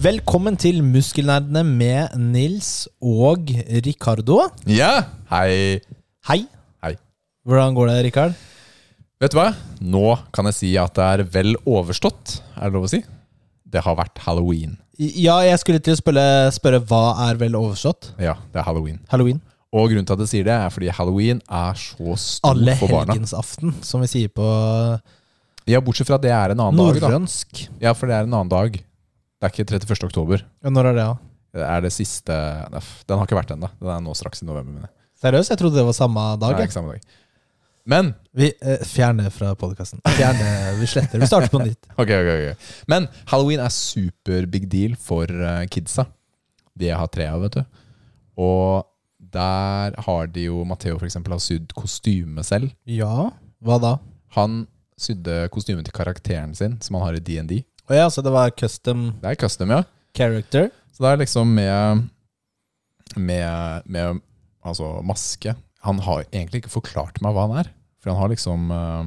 Velkommen til Muskelnerdene med Nils og Ricardo. Ja, hei. Hei. Hei. Hvordan går det, Rikard? Vet du hva? Nå kan jeg si at det er vel overstått, er det lov å si? Det har vært halloween. I- Ja, jeg skulle til å spørre, spørre hva er vel overstått? Ja, det er halloween. Halloween. Og grunnen til at jeg sier det, er fordi halloween er så stor Alle for barna. helgensaften, som vi sier på Ja, bortsett fra at det er en annen dag, norrønsk. da. Ja, for det er en annen dag. Det er ikke 31. oktober. Ja, Når er det, da? Det er det siste Neff, Den har ikke vært ennå. Den er nå straks i november. Men det Seriøst, jeg trodde det var samme dag. er jeg. ikke samme dag. Men Vi eh, Fjern det fra podkasten. Vi sletter. Vi starter på nytt. Ok, ok, ok. Men halloween er super big deal for eh, kidsa. De jeg har tre av, vet du. Og der har de jo Matheo for eksempel har sydd kostyme selv. Ja, hva da? Han sydde kostyme til karakteren sin, som han har i DND. Å ja, så det var custom Det er custom, ja. character. Så det er liksom med Med, med altså maske. Han har egentlig ikke forklart meg hva han er. For han har liksom eh,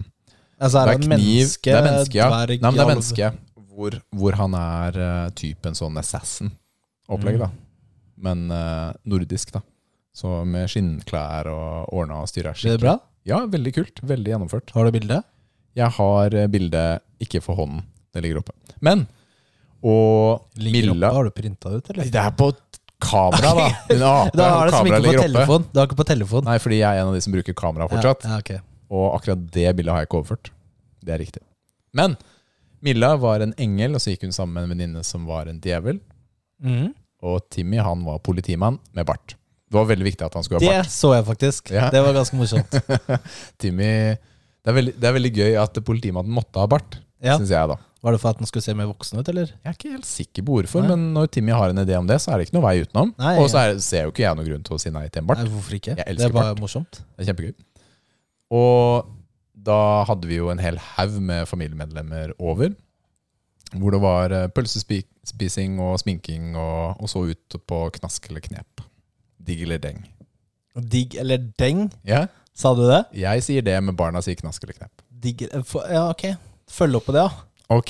Altså, er det er han kniv, menneske, det er menneske, ja. dverg, Nei, men det er alv? menneske hvor, hvor han er eh, typen sånn assassin-opplegg, Mm. da. Men eh, nordisk, da. Så med skinnklær og ordna og styra Blir det bra? Ja, veldig kult. Veldig gjennomført. Har du bilde? Jeg har eh, bildet ikke for hånden, det ligger oppe. Men Og Ligger Milla- oppe, har du printa ut, eller? Det er på kamera, da! Din ape. Da har det som kamera ikke på ligger oppe. telefon. Du har ikke på telefon. Nei, fordi jeg er en av de som bruker kamera fortsatt. Ja, ja, ok. Og akkurat det bildet har jeg ikke overført. Det er riktig. Men Milla var en engel, og så gikk hun sammen med en venninne som var en djevel. Mm. Mhm. Og Timmy han var politimann med bart. Det var veldig viktig at han skulle ha bart. Det så jeg faktisk. Ja. Det var ganske morsomt. Timmy, det, er veldig, det er veldig gøy at politimannen måtte ha bart, Ja. syns jeg, da. Var det for at den skulle se mer voksen ut, eller? Jeg er ikke helt sikker på hvorfor, Nei. men når Timmy har en idé om det, så er det ikke noe vei utenom. Nei, og så er, ser jo ikke jeg noen grunn til å si nei til en bart. Nei, hvorfor ikke? Jeg elsker det er bare bart. morsomt. Det er kjempegøy. Og da hadde vi jo en hel haug med familiemedlemmer over. Hvor det var eh, pølsespising og sminking og, og så ut på knask eller knep. Digg eller deng. Digg eller deng, Ja, sa du det? jeg sier det, men barna sier knask eller knep. Digg eh, for- Ja, ok. Følg opp på det, ja. Ok,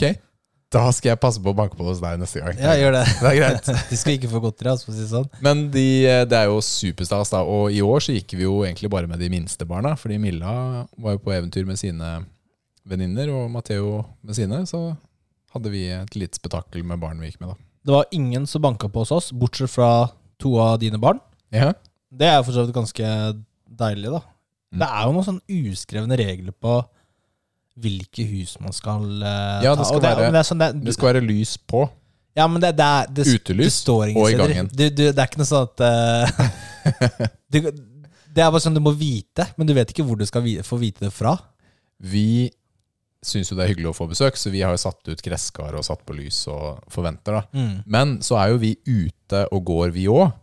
da skal jeg passe på å banke på hos deg neste gang. Ja, gjør det. Det er greit. De skal ikke få godteri, altså, for å si det sånn. Men de, eh, det er jo superstas, da. Og i år så gikk vi jo egentlig bare med de minste barna. Fordi Milla var jo på eventyr med sine venninner, og Matheo med sine. Så hadde vi et lite spetakkel med barn vi gikk med, da. Det var ingen som banka på hos oss, bortsett fra to av dine barn. Ja, Det er jo for så vidt ganske deilig, da. Mm. Det er jo noen sånn uskrevne regler på hvilke hus man skal eh, Ja, det skal Og er- være- men det er sånn, det, Det skal være lys på. Ja, men det, det er det, Utelys det står ingen og i steder. gangen. Du, du, det er ikke noe sånn at eh, du, Det er bare sånn du må vite, men du vet ikke hvor du skal vi, få vite det fra. Vi syns jo det er hyggelig å få besøk, så vi har jo satt ut gresskar og satt på lys og forventer, da. Men så er jo vi ute og går, vi òg.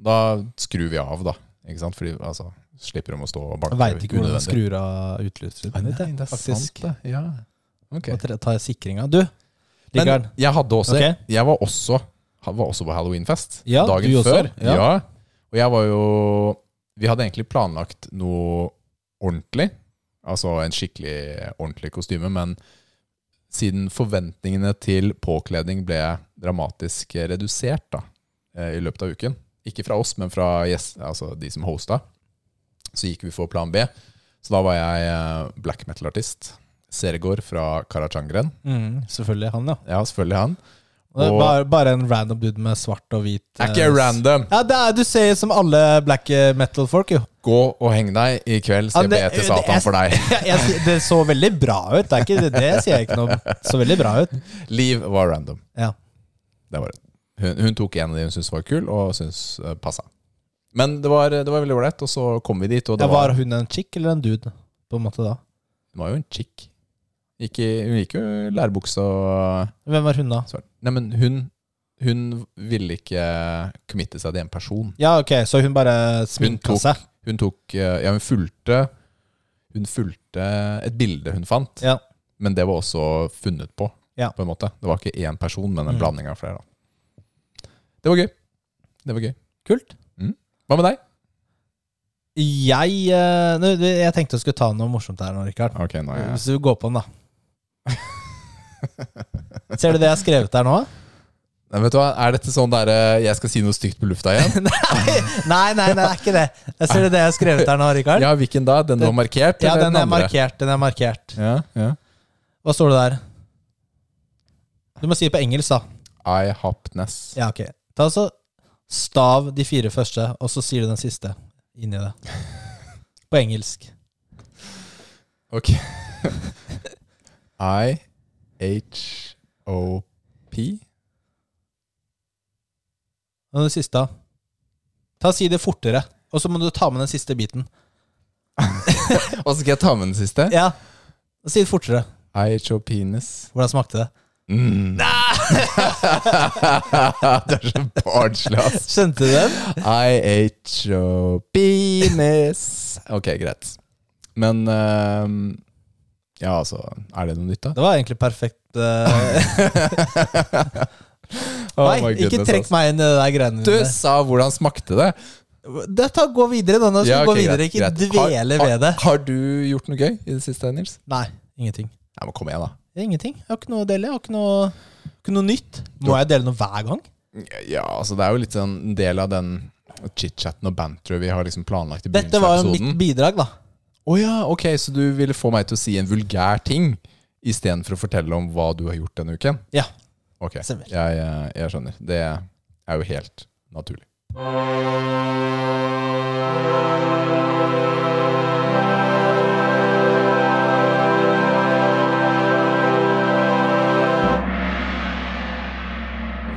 Da skrur vi av, da. Ikke sant? Fordi altså, slipper de å stå og banke. Veit ikke hvordan man unødvendig. skrur av utelyseren. Nei, vet jeg, det er faktisk. sant, det. Ja. Ok. Må tre- ta sikringa. Du, Men Rikard. jeg hadde også Ok. Jeg var også, ha- var også på halloweenfest Ja, dagen du også? før. Ja. Og jeg var jo Vi hadde egentlig planlagt noe ordentlig. Altså en skikkelig ordentlig kostyme, men siden forventningene til påkledning ble dramatisk redusert da, eh, i løpet av uken, ikke fra oss, men fra gjest- altså de som hosta, så gikk vi for plan B. Så da var jeg eh, black metal-artist. Sergor fra Karachangren. Mm, selvfølgelig han, ja. Ja, selvfølgelig han. Og det er Og- bare, bare en random dude med svart og hvit Det er eh, ikke random. Ja, det er, du ser som alle black metal-folk, jo. Gå og heng deg i kveld. Ja, CB det- til Satan det- for deg. Jeg, jeg, sier- det så veldig bra ut. Det, er ikke, det, det sier jeg ikke noe om. Så veldig bra ut. Liv var random. Ja. Det var det. Hun, hun tok en av de hun syntes var kul, og syntes uh, passa. Men det var, det var veldig ålreit, og så kom vi dit, og Ja, det var var, hun en chick eller en dude, på en måte da? hun var jo en chick. Gikk i, hun gikk jo i lærebukse og Hvem var hun da? svart. Nei, men hun, hun ville ikke committe seg til en person. Ja, ok, så hun bare sminka tok- seg. Hun tok uh, Ja, hun fulgte Hun fulgte et bilde hun fant. Ja. Men det var også funnet på, Ja. på en måte. Det var ikke én person, men en Mm. blanding av flere. Da. Det var gøy. Det var gøy. Mm. Kult. Hva med deg? Jeg, eh, nå, du, jeg tenkte jeg skulle ta noe morsomt her nå, Rikard. Ok, nå er jeg Hvis du går på den, da. Ser du det jeg har skrevet der nå? Nei, vet du hva, Er dette sånn derre 'jeg skal si noe stygt på lufta' igjen? Nei, nei, nei, det er ikke det. Jeg ser det det jeg har skrevet her nå, Rikard. Ja, hvilken da? Den du har markert? Ja, eller den er andre? markert. Den er markert. Ja, ja. Hva står det der? Du må si det på engelsk, da. I hapness. Ja, ok. Ta så stav de fire første, og så sier du den siste inni det. På engelsk. Ok. I-H-O-P? Og den siste, da. Ta Si det fortere, og så må du ta med den siste biten. Og så skal jeg ta med den siste. Ja, Si det fortere. I-H-O-Penis. Hvordan smakte det? Mm. det er så barnslig, ass. Skjønte du den? I-H-O-Penis. Ok, greit. Men ehm, Ja, altså, er det noe nytt, da? Det var egentlig perfekt. eh, Oh Nei, my ikke goodness, trekk ass. meg inn i det der greiene Du sa hvordan smakte det. Dette gå videre, da. Nå skal Ja, vi gå Altså, ok, videre. greit, Ikke greit. dvele Har- ved det. Har, har du gjort noe gøy i det siste, Nils? Nei, ingenting. Ja, men kom igjen, da. Ingenting. Jeg har ikke noe å dele. Jeg har ikke noe, ikke noe nytt. Må jeg dele noe hver gang? Ja, altså det er jo litt sånn en del av den chit-chatten og banteret vi har liksom planlagt i Dette begynnelsen var av jo mitt episoden. Å bidrag, da. ja, ok, så du ville få meg til å si en vulgær ting istedenfor å fortelle om hva du har gjort denne uken? Ja. Ok, jeg, Stemmer. jeg, eh, jeg skjønner. Det er jo helt naturlig.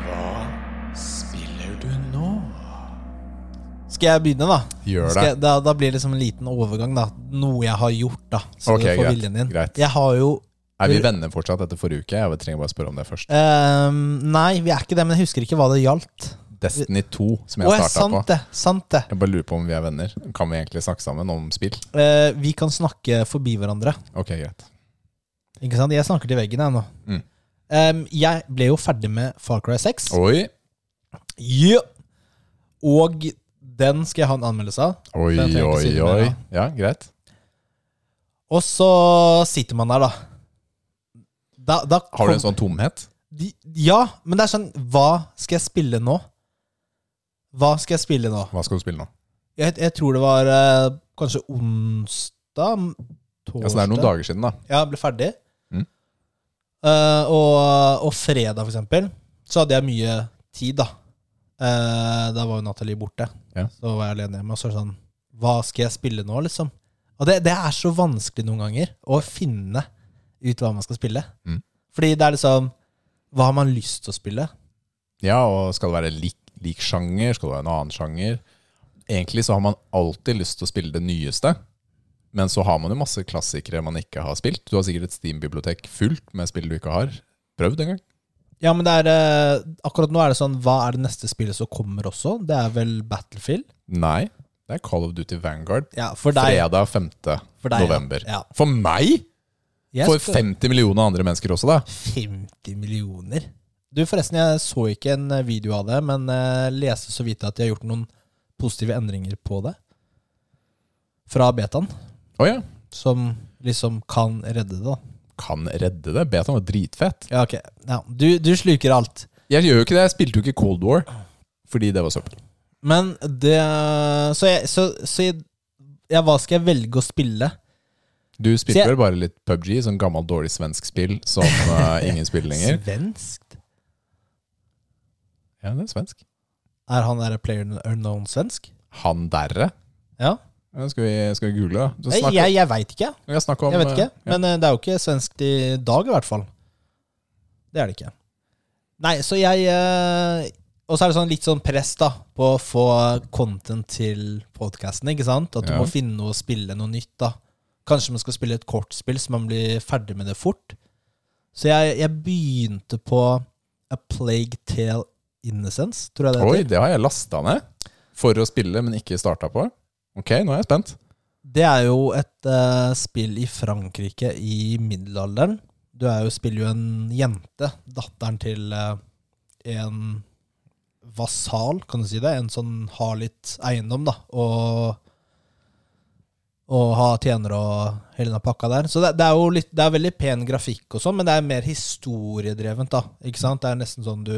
Hva spiller du nå? Skal jeg begynne, da? Gjør Skal det. jeg, da, da blir det liksom en liten overgang, da. Noe jeg har gjort, da. Så Ok, du får greit, viljen din. greit. Jeg har jo Er vi venner fortsatt etter forrige uke? Jeg trenger bare å spørre om det først. ehm, Nei, vi er ikke det, men jeg husker ikke hva det gjaldt. Destiny 2, Å, som ja, jeg starta sant på. det. Sant det. Jeg bare lurer på om vi er venner. Kan vi egentlig snakke sammen om spill? Eh, vi kan snakke forbi hverandre. Ok, greit. Ikke sant? Jeg snakker til veggen, jeg nå. Mm. Oh. Ehm, jeg ble jo ferdig med Far Cry 6. Oi, Ja. Og den skal jeg ha en anmeldelse av. oi, Den trenger jeg ikke si oi. noe mer oi. av. Ja, greit. Og så sitter man der, da. da, da Har du en kom- sånn tomhet? De- Ja, men det er sånn Hva skal jeg spille nå? Hva skal jeg spille nå? Hva skal du spille nå? Jeg, jeg tror det var eh, kanskje onsdag? m- Torsdag? Ja, så det er noen dager siden, da. Ja, jeg ble ferdig. Mm. Eh, og, og fredag, for eksempel, så hadde jeg mye tid, da. Eh, da var jo Nathalie borte. Ja. Så var jeg alene hjemme, og så er det sånn Hva skal jeg spille nå, liksom? Og det, det er så vanskelig noen ganger å finne ut hva man skal spille. Mm. Fordi det er liksom Hva har man lyst til å spille? Ja, og skal det være lik, lik sjanger? Skal det være en annen sjanger? Egentlig så har man alltid lyst til å spille det nyeste. Men så har man jo masse klassikere man ikke har spilt. Du har sikkert et Steam-bibliotek fullt med spill du ikke har prøvd engang. Ja, men det er eh, Akkurat nå er det sånn Hva er det neste spillet som kommer også? Det er vel Battlefield? Nei, det er Call of Duty Vanguard. Ja, for deg. Fredag 5. For deg, ja. november. Ja. For meg? Jeg For skal- 50 millioner andre mennesker også, da. 50 millioner. Du, forresten, jeg så ikke en video av det, men eh, leste så vidt at de har gjort noen positive endringer på det. Fra betaen, Å ja. som liksom kan redde det, da. Kan redde det. Betan var dritfett. Ja, ok. Ja, du, du sluker alt. Jeg gjør jo ikke det. Jeg spilte jo ikke Cold War fordi det var søppel. Men det Så jeg Så, så jeg, ja, hva skal jeg velge å spille? Du Så spilte jeg- vel bare litt PubG, sånn gammel, dårlig svensk spill som eh, ingen spiller lenger. Svenskt? Ja, det er svensk. Er han der player unknown svensk? Han derre. Ja. Ja, Skal vi, skal vi google det? Nei, jeg jeg veit ikke. vi kan snakke om, Jeg vet ikke. eh, ja. Men eh, det er jo ikke svensk i dag, i hvert fall. Det er det ikke. Nei, så jeg eh, Og så er det sånn litt sånn press da på å få content til podkasten. Ikke sant? At du Ja. må finne noe å spille noe nytt. da Kanskje man skal spille et kortspill, så man blir ferdig med det fort. Så jeg, jeg begynte på A Plague Tale Innocence, tror jeg det eh, Oi, heter. det har jeg lasta ned for å spille, men ikke starta på. Ok, nå er jeg spent. Det er jo et eh, spill i Frankrike i middelalderen. Du er jo, spiller jo en jente, datteren til eh, en vasal, kan du si det. En som har litt eiendom, da. Og, og har tjenere og hele den pakka der. Så det, det er jo litt, det er veldig pen grafikk og sånn, men det er mer historiedrevent, da. Ikke sant? Det er nesten sånn du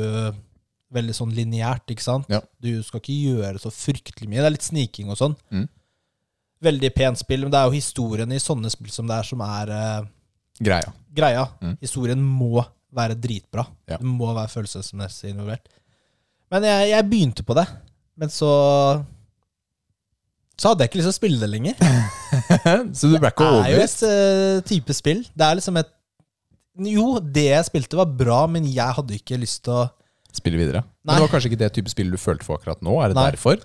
veldig sånn lineært, ikke sant? Ja. Du skal ikke gjøre så fryktelig mye. Det er litt sniking og sånn. Mm. Veldig pent spill, men det er jo historien i sånne spill som det er, som er eh, Greia. greia. Mm. Historien må være dritbra. Ja. Det må være følelsesmessig involvert. Men jeg, jeg begynte på det, men så Så hadde jeg ikke lyst til å spille det lenger. så du ble ikke Det er jo overbevist? et eh, type spill. Det er liksom et Jo, det jeg spilte, var bra, men jeg hadde ikke lyst til å Spille videre. Nei. Men det var kanskje ikke det type spill du følte for akkurat nå? Er det Nei. derfor?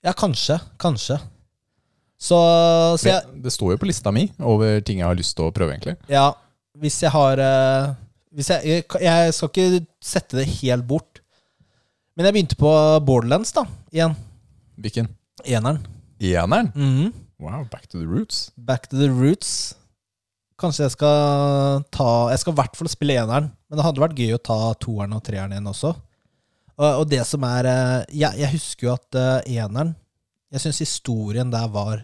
Ja, kanskje. Kanskje. Så, så jeg, Det står jo på lista mi over ting jeg har lyst til å prøve, egentlig. Ja, hvis jeg har eh, hvis jeg, jeg, jeg skal ikke sette det helt bort. Men jeg begynte på Borderlands, da. Igjen. Hvilken? Eneren. Eneren? Mhm. Wow, back to the roots. Back to the roots. Kanskje jeg skal ta Jeg skal i hvert fall spille eneren, men det hadde vært gøy å ta toeren og treeren igjen også. Og, og det som er eh, Jeg, jeg husker jo at eh, eneren Jeg syns historien der var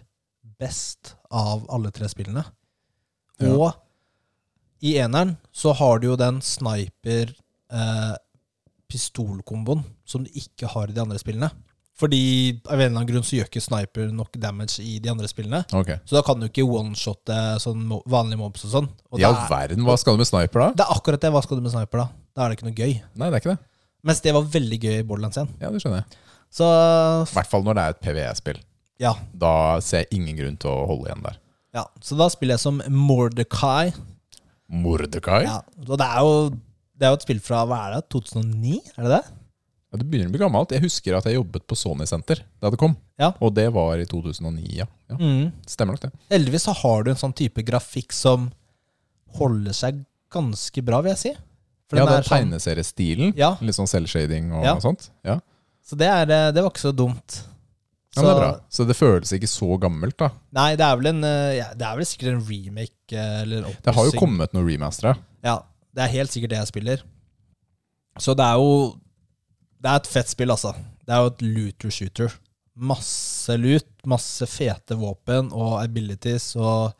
best av alle tre spillene. Ja. Og i eneren så har du jo den sniper-pistolkomboen som du ikke har i de andre spillene. Fordi av en eller annen grunn så gjør ikke sniper nok damage i de andre spillene. Ok. Så da kan du ikke one-shotte sånn mo- vanlige mobs og sånn. Og I all det, er, verden, hva skal du med sniper da? det er akkurat det. Hva skal du med sniper, da? Da er det ikke noe gøy. Nei, det er ikke det. Mens det var veldig gøy i Borderlands 1. Ja, det skjønner jeg. Så I hvert fall når det er et PVE-spill. ja, Da ser jeg ingen grunn til å holde igjen der. ja. Så da spiller jeg som Mordecai. Mordecai? Ja. Ja. Og det er jo det er jo et spill fra hva er det, 2009? Er det det? Det begynner å bli gammelt. Jeg husker at jeg jobbet på Sony Center da det kom. Ja. Og det var i 2009, ja. ja. Mm. Stemmer nok det. Heldigvis så har du en sånn type grafikk som holder seg ganske bra, vil jeg si. For ja, den den er sånn- tegneseriestilen. Ja. Litt sånn selvshading og Ja. sånt. Ja. Så det, er, eh, det var ikke så dumt. ja, men det er bra. Så det føles ikke så gammelt, da. Nei, det er vel, en, eh, ja, det er vel sikkert en remake eh, eller en Det har jo oppussing. kommet noen remastera. Ja, det er helt sikkert det jeg spiller. Så det er jo Det er et fett spill, altså. Det er jo et looter shooter. Masse lut, masse fete våpen og abilities og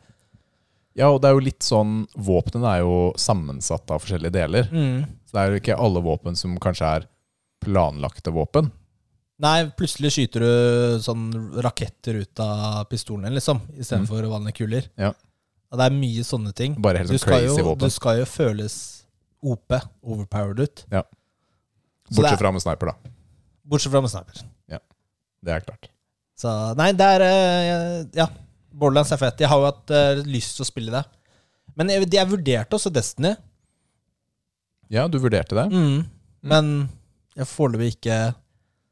Ja, og det er jo litt sånn Våpnene er jo sammensatt av forskjellige deler. Så det er jo ikke alle våpen som kanskje er planlagte våpen. Nei, plutselig skyter du sånn raketter ut av pistolen din, liksom, istedenfor for vanlige kuler. Mm. Ja. Og det er mye sånne ting. Bare helt Du sånn skal, crazy jo, du våpen. skal jo føles OP, overpowered ut. Ja. Så det er- Bortsett fra med sniper, da. Bortsett fra med sniper. Det er klart. Så nei, det er eh, Ja, Borderlands er fett. Jeg har jo hatt eh, lyst til å spille det. Men jeg, jeg vurderte også Destiny, Ja, du vurderte Mm. det? men jeg foreløpig ikke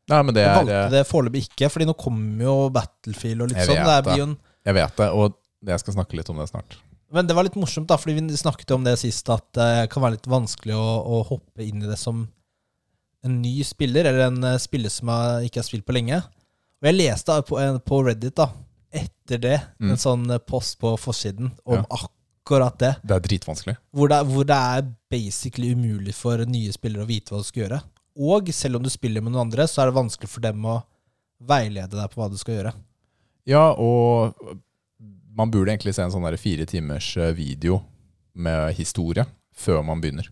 Nei, men det Jeg er eh, valgte det foreløpig ikke, Fordi nå kommer jo Battlefield og litt Jeg sånn. vet Det det. blir jo en, Jeg vet det, og jeg skal snakke litt om det snart. men det var litt morsomt, da, fordi vi snakket om det sist, at eh, det kan være litt vanskelig å, å hoppe inn i det som en ny spiller, eller en eh, spiller som har- ikke har spilt på lenge. Og jeg leste på, en- på Reddit, da, etter det, Mm. en sånn eh, post på forsiden om Ja. akkurat det. Det er dritvanskelig. hvor det, hvor det er basically umulig for nye spillere å vite hva du skal gjøre. Og selv om du spiller med noen andre, så er det vanskelig for dem å veilede deg på hva du skal gjøre. Ja, og man burde egentlig se en sånn der fire timers eh, video med historie før man begynner,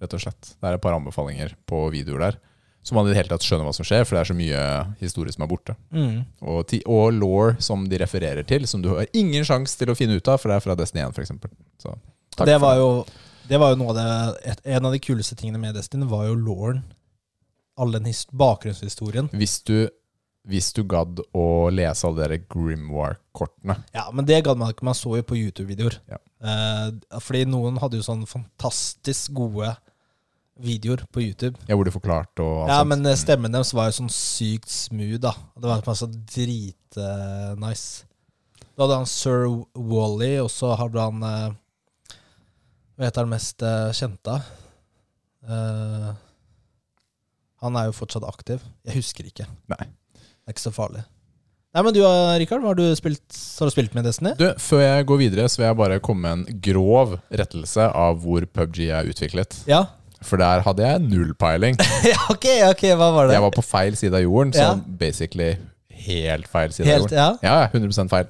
rett og slett. Det er et par anbefalinger på videoer der, så man i det hele tatt skjønner hva som skjer, for det er så mye historie som er borte. Og, ti- og law som de refererer til, som du har ingen sjanse til å finne ut av, for det er fra Destiny 1, for eksempel. Så, takk det, for var jo, det var jo noe av det et, En av de kuleste tingene med Destiny var jo lauren. All den his, bakgrunnshistorien. Hvis du, hvis du gadd å lese alle de der Grimoire-kortene Ja, men det gadd man ikke. Man så jo på YouTube-videoer. Ja. Eh, fordi noen hadde jo sånn fantastisk gode videoer på YouTube. Jeg burde forklart og alt Ja, sånt. men eh, stemmen deres var jo sånn sykt smooth, da. Og Det var liksom masse dritnice. eh, Da hadde han Sir Wally, og så hadde han eh, Hva heter han mest eh, kjente av? Eh, han er jo fortsatt aktiv. Jeg husker ikke. Nei. Det er ikke så farlig. Nei, men du, eh, Rikard, hva har du spilt, har du spilt med i Destiny? Du, før jeg går videre, så vil jeg bare komme med en grov rettelse av hvor PubG er utviklet. Ja? For der hadde jeg null peiling. ja, ok, ok, hva var det? Jeg var på feil side av jorden, så Ja. basically helt feil side Helt, av jorden. ja? Ja, ja, 100 feil.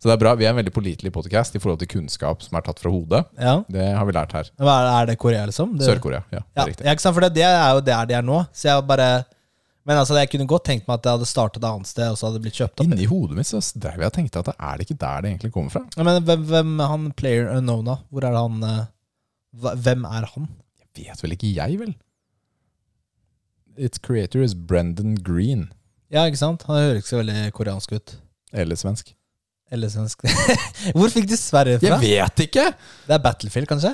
Så det er bra. Vi er en veldig pålitelig podkast i forhold til kunnskap som er tatt fra hodet. Ja. Det har vi lært her. Hva er, er det Korea, liksom? Det, Sør-Korea. Ja, det Ja, er riktig. ja, ikke sant? For det, det er jo der de er nå. Så jeg bare Men altså, jeg kunne godt tenkt meg at det hadde startet et annet sted, og så hadde det blitt kjøpt opp. Inni hodet mitt så drev jeg og tenkte at det er det ikke der det egentlig kommer fra? Ja, men hvem, hvem er han player unknown, da? Hvor er det han eh, hva- Hvem er han? Jeg vet vel ikke jeg, vel? Its creator is Brendan Green. Ja, ikke sant? Han hører ikke så veldig koreansk ut. Eller svensk. Eller svensk. Hvor fikk du Sverre fra? vet ikke! Det er Battlefield, kanskje?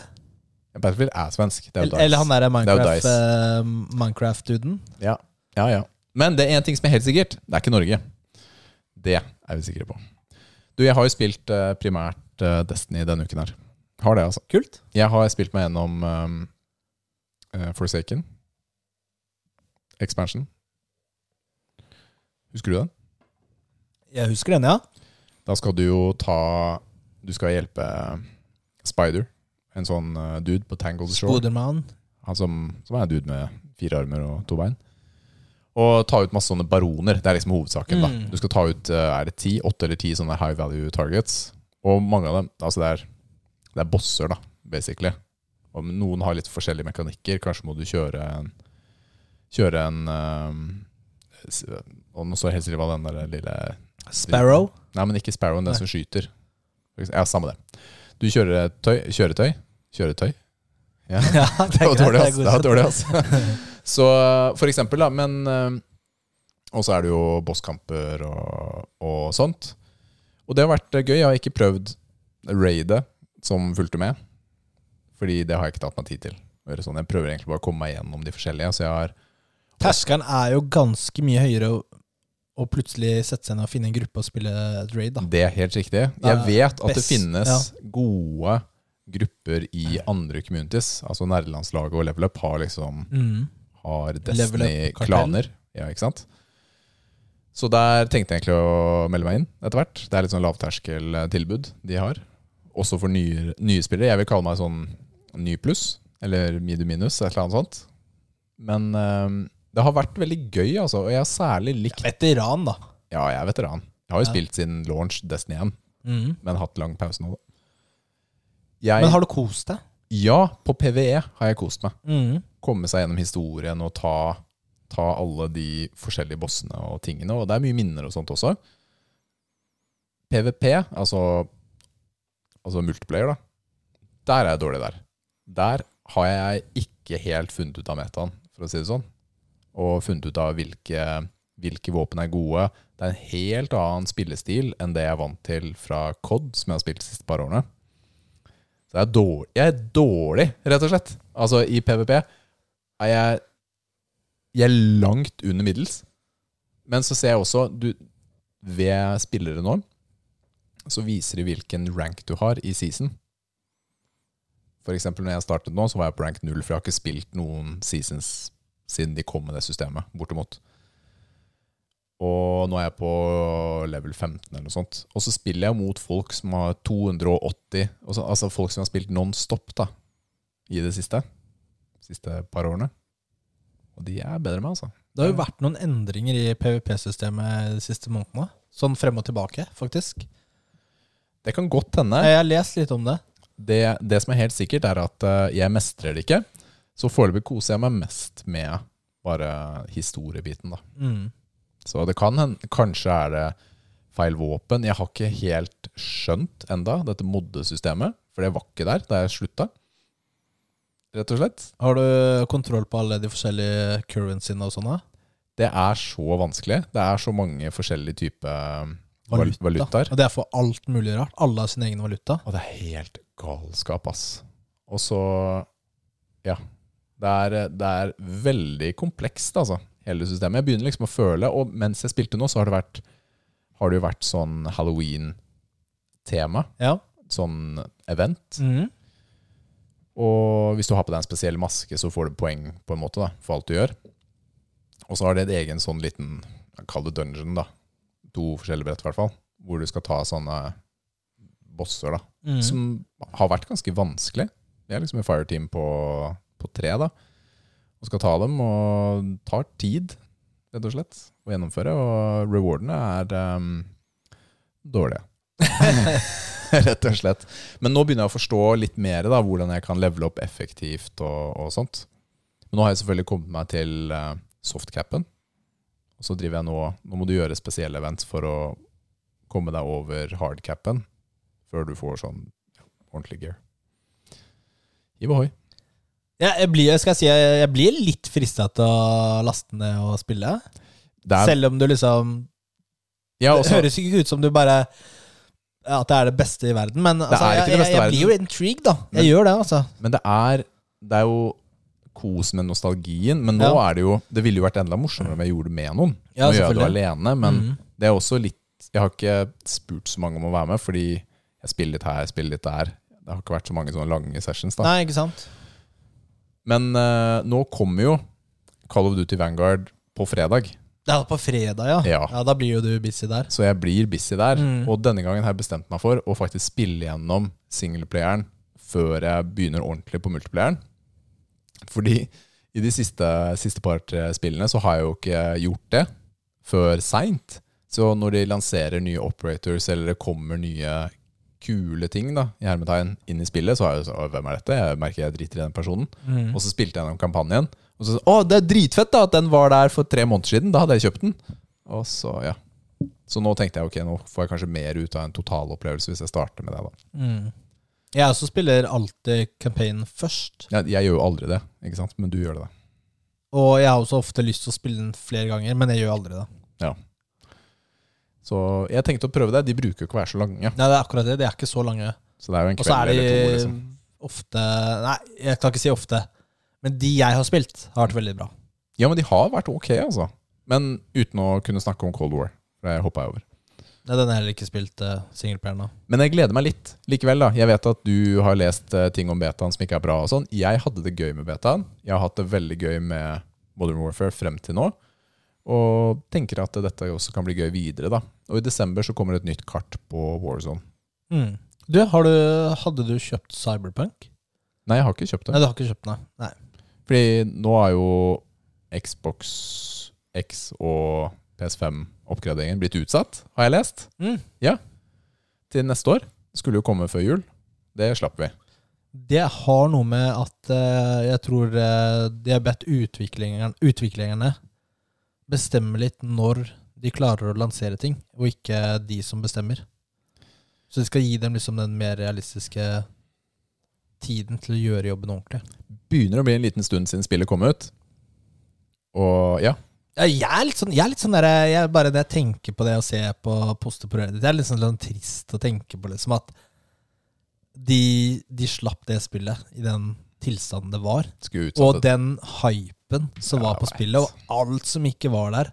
Battlefield er svensk. Det er jo Eller, eller han derre er jo Minecraft, Dice. eh, Minecraft-duden? Ja. ja, ja. Men det er én ting som er helt sikkert. Det er ikke Norge. Det er vi sikre på. Du, jeg har jo spilt eh, primært eh, Destiny denne uken her. Har det, altså. Kult. Jeg har spilt meg gjennom ehm, eh, eh, Forsaken. Expansion. Husker du den? Jeg husker den, ja. Da skal du jo ta Du skal hjelpe Spider, en sånn eh, dude på Tangled Shore. Spoderman. Han som, som er en dude med fire armer og to bein. Og ta ut masse sånne baroner. Det er liksom hovedsaken. da. Mm. Du skal ta ut eh, er det ti, åtte eller ti sånne high value targets. Og mange av dem altså det, er, det er bosser, da, basically. Og noen har litt forskjellige mekanikker. Kanskje må du kjøre en Kjøre en eh, s- Og nå står jeg helt stille hva den der lille Sparrow. Nei, men ikke Sparrowen, den Nei. som skyter. Ja, samme det. Du kjører et tøy, kjøretøy. Kjøretøy. Ja. Ja, det Det var greit, det er dårlig, ass. Det var godkjent. dårlig, ass. Så for eksempel, da. Men eh, Og så er det jo bosskamper og, og sånt. Og det har vært eh, gøy. Jeg har ikke prøvd raidet som fulgte med. Fordi det har jeg ikke tatt meg tid til. å gjøre sånn. Jeg prøver egentlig bare å komme meg gjennom de forskjellige. Så jeg har Terskelen er jo ganske mye høyere å, å plutselig sette seg ned og finne en gruppe og spille et raid, da. Det er helt riktig. Det Jeg er vet at det best, finnes ja. gode grupper i andre communities. Altså nerdelandslaget og Level Up har liksom Mm. Level har Up-kartell. Destiny-klaner. Ja, ikke sant? Så der tenkte jeg egentlig å melde meg inn etter hvert. Det er litt sånn lavterskeltilbud de har. Også for nye, nye spillere. Jeg vil kalle meg sånn ny pluss, eller medium minus, et eller annet sånt. Men eh, det har vært veldig gøy, altså. Og jeg har særlig likt Veteran, da. Ja, jeg er veteran. Jeg har jo Ja. spilt siden launch Destiny 1 Mm. men hatt lang pause nå. da. Jeg, Men har du kost deg? ja, på PVE har jeg kost meg. Mm. Komme seg gjennom historien og ta, ta alle de forskjellige bossene og tingene. Og det er mye minner og sånt også. PVP, altså, altså multiplayer, da. Der er jeg dårlig der. Der har jeg ikke helt funnet ut av metaen, for å si det sånn. Og funnet ut av hvilke, hvilke våpen er gode. Det er en helt annen spillestil enn det jeg er vant til fra COD, som jeg har spilt de siste par årene. Så jeg er dårlig, jeg er dårlig rett og slett. Altså, i PVP er jeg, jeg er langt under middels. Men så ser jeg også du, Ved spillere nå så viser de hvilken rank du har i season. For eksempel når jeg startet nå, så var jeg på rank 0, for jeg har ikke spilt noen seasons siden de kom med det systemet, bortimot. Og nå er jeg på level 15 eller noe sånt. Og så spiller jeg mot folk som har 280, og så, altså folk som har spilt non-stop da, i det siste. Siste par årene. Og de er bedre enn meg, altså. Det har jo vært noen endringer i PVP-systemet de siste månedene. Sånn frem og tilbake, faktisk. Det kan godt hende. Jeg har lest litt om det. det, det som er helt sikkert, er at eh, jeg mestrer det ikke. Så foreløpig koser jeg meg mest med bare historiebiten, da. Mm. Så det kan hende Kanskje er det feil våpen. Jeg har ikke helt skjønt enda dette moddesystemet, for det var ikke der da jeg slutta. Rett og slett. Har du kontroll på alle de forskjellige currencyene og sånn, sånne? Det er så vanskelig. Det er så mange forskjellige typer val- Valuta. valutaer. Og det er for alt mulig rart. Alle har sin egen valuta. Og det er helt galskap, ass. Og så Ja. Det er, det er veldig komplekst, altså, hele systemet. Jeg begynner liksom å føle Og mens jeg spilte nå, så har det vært Har det jo vært sånn halloween-tema. Ja. Sånn event. Mm. Og hvis du har på deg en spesiell maske, så får du poeng på en måte da, for alt du gjør. Og så har det en egen sånn liten Kall det dungeon, da. To forskjellige brett, i hvert fall. Hvor du skal ta sånne bosser, da Mm. som har vært ganske vanskelig. Jeg er liksom i fireteam på, på tre, da. Og skal ta dem, og tar tid, rett og slett, å gjennomføre. Og rewardene er ehm, dårlige. Rett og slett. Men nå begynner jeg å forstå litt mer da, hvordan jeg kan levele opp effektivt og, og sånt. Men nå har jeg selvfølgelig kommet meg til eh, softcapen. Og så driver jeg nå Nå må du gjøre spesielle events for å komme deg over hardcapen før du får sånn ja, ordentlig gear. Hiv ohoi. Ja, jeg, blir, skal jeg, si, jeg jeg blir litt frista til å laste ned og spille. Det er- Selv om du liksom ja, altså- Det også- høres ikke ut som du bare ja, At det er det beste i verden, men altså, er ikke det jeg, beste jeg, i jeg blir jo intrigued, da. Jeg Men- gjør det, altså. Men det er, det er jo kos med nostalgien. Men nå Ja. er det jo Det ville jo vært enda morsommere om jeg gjorde det med noen. Ja, nå gjør jeg det selvfølgelig. alene, men Mhm. det er også litt Jeg har ikke spurt så mange om å være med, fordi jeg spiller litt her, spiller litt der. Det har ikke vært så mange sånne lange sessions. da Nei, ikke sant? Men eh, nå kommer jo Call of Duty Vanguard på fredag, Det er på fredag, ja. Ja. Da blir jo du busy der. så jeg blir busy der. Mhm. Og denne gangen har jeg bestemt meg for å faktisk spille gjennom singleplayeren før jeg begynner ordentlig på multiplayeren. Fordi i de siste, siste par tre spillene så har jeg jo ikke gjort det før seint. Så når de lanserer nye operators, eller det kommer nye kule ting da, i hermetegn inn i spillet, så har jeg jo sånn «Å, Hvem er dette? Jeg merker jeg driter i den personen. Og så spilte jeg gjennom kampanjen. Og så sa Å, det er dritfett da at den var der for tre måneder siden. Da hadde jeg kjøpt den. Og så, ja. Så nå tenkte jeg ok, nå får jeg kanskje mer ut av en totalopplevelse hvis jeg starter med det. da. Mm. Jeg også spiller alltid campaign først. Jeg, jeg gjør jo aldri det, ikke sant? men du gjør det. da. Og jeg har også ofte lyst til å spille den flere ganger, men jeg gjør aldri det. Så jeg tenkte å prøve det. De bruker jo ikke å være så lange. Nei, det er akkurat det. De er ikke så lange. Så det er jo en Og så kveld er de eller to. liksom. ofte Nei, jeg kan ikke si ofte. Men de jeg har spilt, har vært veldig bra. Ja, men de har vært ok, altså. Men uten å kunne snakke om Cold War. For det hoppa jeg over. Nei, Den har jeg heller ikke spilt uh, singelplayeren av. Men jeg gleder meg litt likevel. da. Jeg vet at du har lest eh, ting om betaen som ikke er bra. og sånn. Jeg hadde det gøy med betaen. Jeg har hatt det veldig gøy med Modern Warfare frem til nå. Og tenker at dette også kan bli gøy videre. da. Og i desember så kommer det et nytt kart på Warzone. Mm. Du, har du, hadde du kjøpt Cyberpunk? Nei, jeg har ikke kjøpt Nei, det. du har ikke kjøpt den. Nei. Fordi nå er jo Xbox X og PS5-oppgraderingen blitt utsatt, har jeg lest. Mm. Til neste år. Skulle jo komme før jul. Det slapp vi. Det har noe med at eh, jeg tror eh, de har bedt utviklingerne, utviklingerne bestemme litt når de klarer å lansere ting, og ikke de som bestemmer. Så de skal gi dem liksom den mer realistiske tiden til å gjøre jobben ordentlig. begynner å bli en liten stund siden spillet kom ut. Og ja, Ja, Jeg er litt sånn, jeg er litt sånn der, jeg, bare når jeg tenker på det og ser på poster på Reddit, det er litt sånn, litt trist å tenke på liksom at de, de slapp det spillet i den tilstanden det var. skulle Og utsette det. den hypen som var Jeg på vet. spillet, og alt som ikke var der,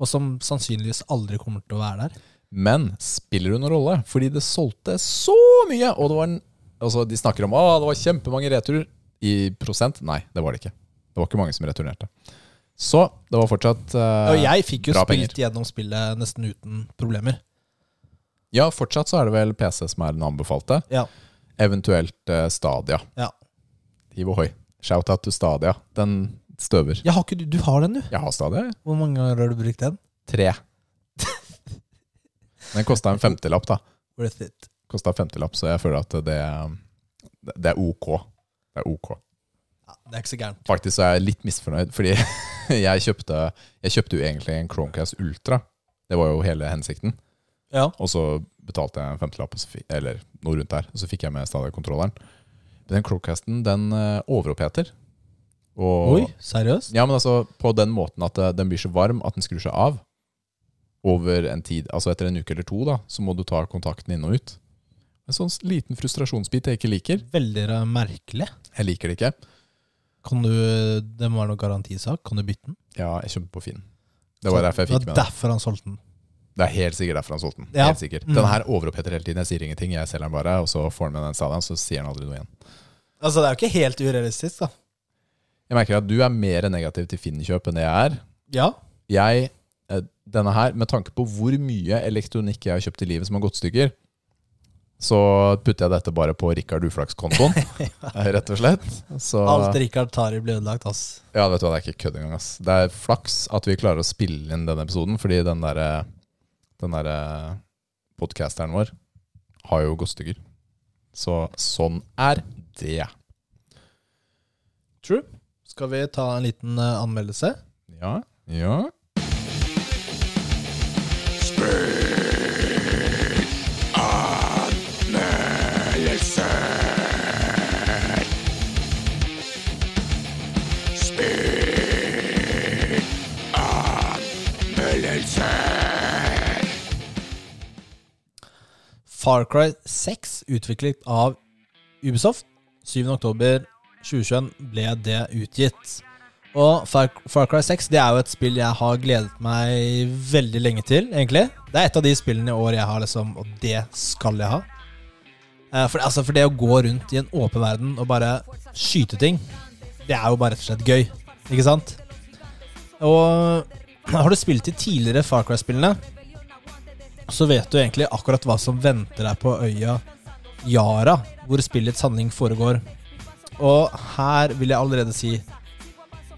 og som sannsynligvis aldri kommer til å være der. Men spiller det noen rolle? Fordi det solgte så mye! Og det var en, altså, de snakker om at det var kjempemange returer. I prosent? Nei, det var det ikke. Det var ikke mange som returnerte. Så det var fortsatt eh, Og jeg fikk jo bra spilt gjennom spillet nesten uten problemer. Ja, fortsatt så er det vel PC som er den anbefalte. Ja. Eventuelt eh, Stadia. Ja. Hiv ohoi. Shout-out to Stadia. Den støver. Jeg har ikke, du- du har den, du. Jeg har Stadia. jeg. Hvor mange ganger har du brukt den? Tre. Den kosta en femtilapp, da. Worth it. kosta 50-lapp, så jeg føler at det, det er ok. Det er ok. Ja, det er ikke så gærent. Faktisk så er jeg litt misfornøyd, fordi jeg kjøpte, jeg kjøpte jo egentlig en Chromecast Ultra. Det var jo hele hensikten. Ja. Og så betalte jeg en 50-lapp, og så fi- eller noe rundt der, og så fikk jeg med Stadia-kontrolleren. Men Den Chromecasten, den eh, overoppheter. Og, Oi, seriøst? Ja, men altså på den måten at eh, den blir så varm at den skrur seg av over en tid. Altså etter en uke eller to, da, så må du ta kontakten inn og ut. En sånn s- liten frustrasjonsbit jeg ikke liker. Veldig ra- merkelig. Jeg liker det ikke. Kan du, det må være noe garantisak. Kan du bytte den? Ja, jeg kjøpte på Finn. Det var derfor jeg fikk med med den. den. Derfor han solgte den. Det er helt sikkert derfor han solgte den. Ja. Mm. Helt sikkert. Den her overoppheter hele tiden. Jeg sier ingenting, jeg selger den bare, og så får han med den stadion, så sier han aldri noe igjen. Altså, det er jo ikke helt urealistisk, da. Jeg merker at du er mer negativ til Finn-kjøp enn det jeg er. Ja. jeg, eh, denne her, med tanke på hvor mye elektronikk jeg har kjøpt i livet som har gått i stykker, så putter jeg dette bare på Rikard Uflaks-kontoen, eh, rett og slett. Så, Alt Rikard tar i, blir ødelagt, ass. ja, vet du hva, det er ikke kødd engang. Ass. Det er flaks at vi klarer å spille inn denne episoden, fordi den derre den der, eh, podcasteren vår har jo gått stykker. Så sånn er det. True. Skal vi ta en liten eh, anmeldelse? Ja, ja. Far Cry 6, utviklet av Ubisoft. 7. oktober 2021 ble det utgitt. Og Far, Far Cry 6 det er jo et spill jeg har gledet meg veldig lenge til, egentlig. Det er et av de spillene i år jeg har liksom Og det skal jeg ha. Eh, For, altså, for det å gå rundt i en åpen verden og bare skyte ting, det er jo bare rett og slett gøy. Ikke sant? Og har du spilt de tidligere Far Cry-spillene, så vet du egentlig akkurat hva som venter deg på øya Yara, hvor spillets handling foregår. Og her vil jeg allerede si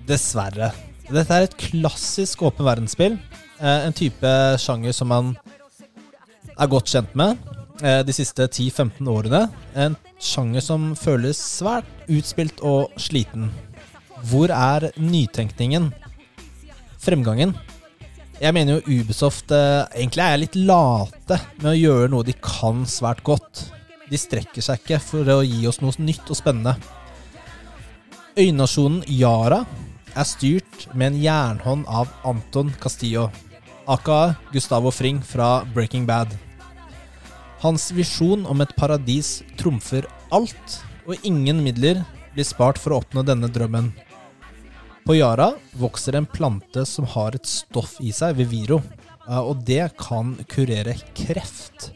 dessverre. Dette er et klassisk åpen verdensspill. Eh, en type sjanger som man er godt kjent med eh, de siste 10-15 årene. En sjanger som føles svært utspilt og sliten. Hvor er nytenkningen? Fremgangen? Jeg mener jo Ubisoft eh, egentlig er litt late med å gjøre noe de kan svært godt. De strekker seg ikke for å gi oss noe nytt og spennende. Øynasjonen Yara er styrt med en jernhånd av Anton Castillo, aka Gustavo Fring fra Breaking Bad. Hans visjon om et paradis trumfer alt, og ingen midler blir spart for å oppnå denne drømmen. På Yara vokser en plante som har et stoff i seg, Viviro, eh, og det kan kurere kreft.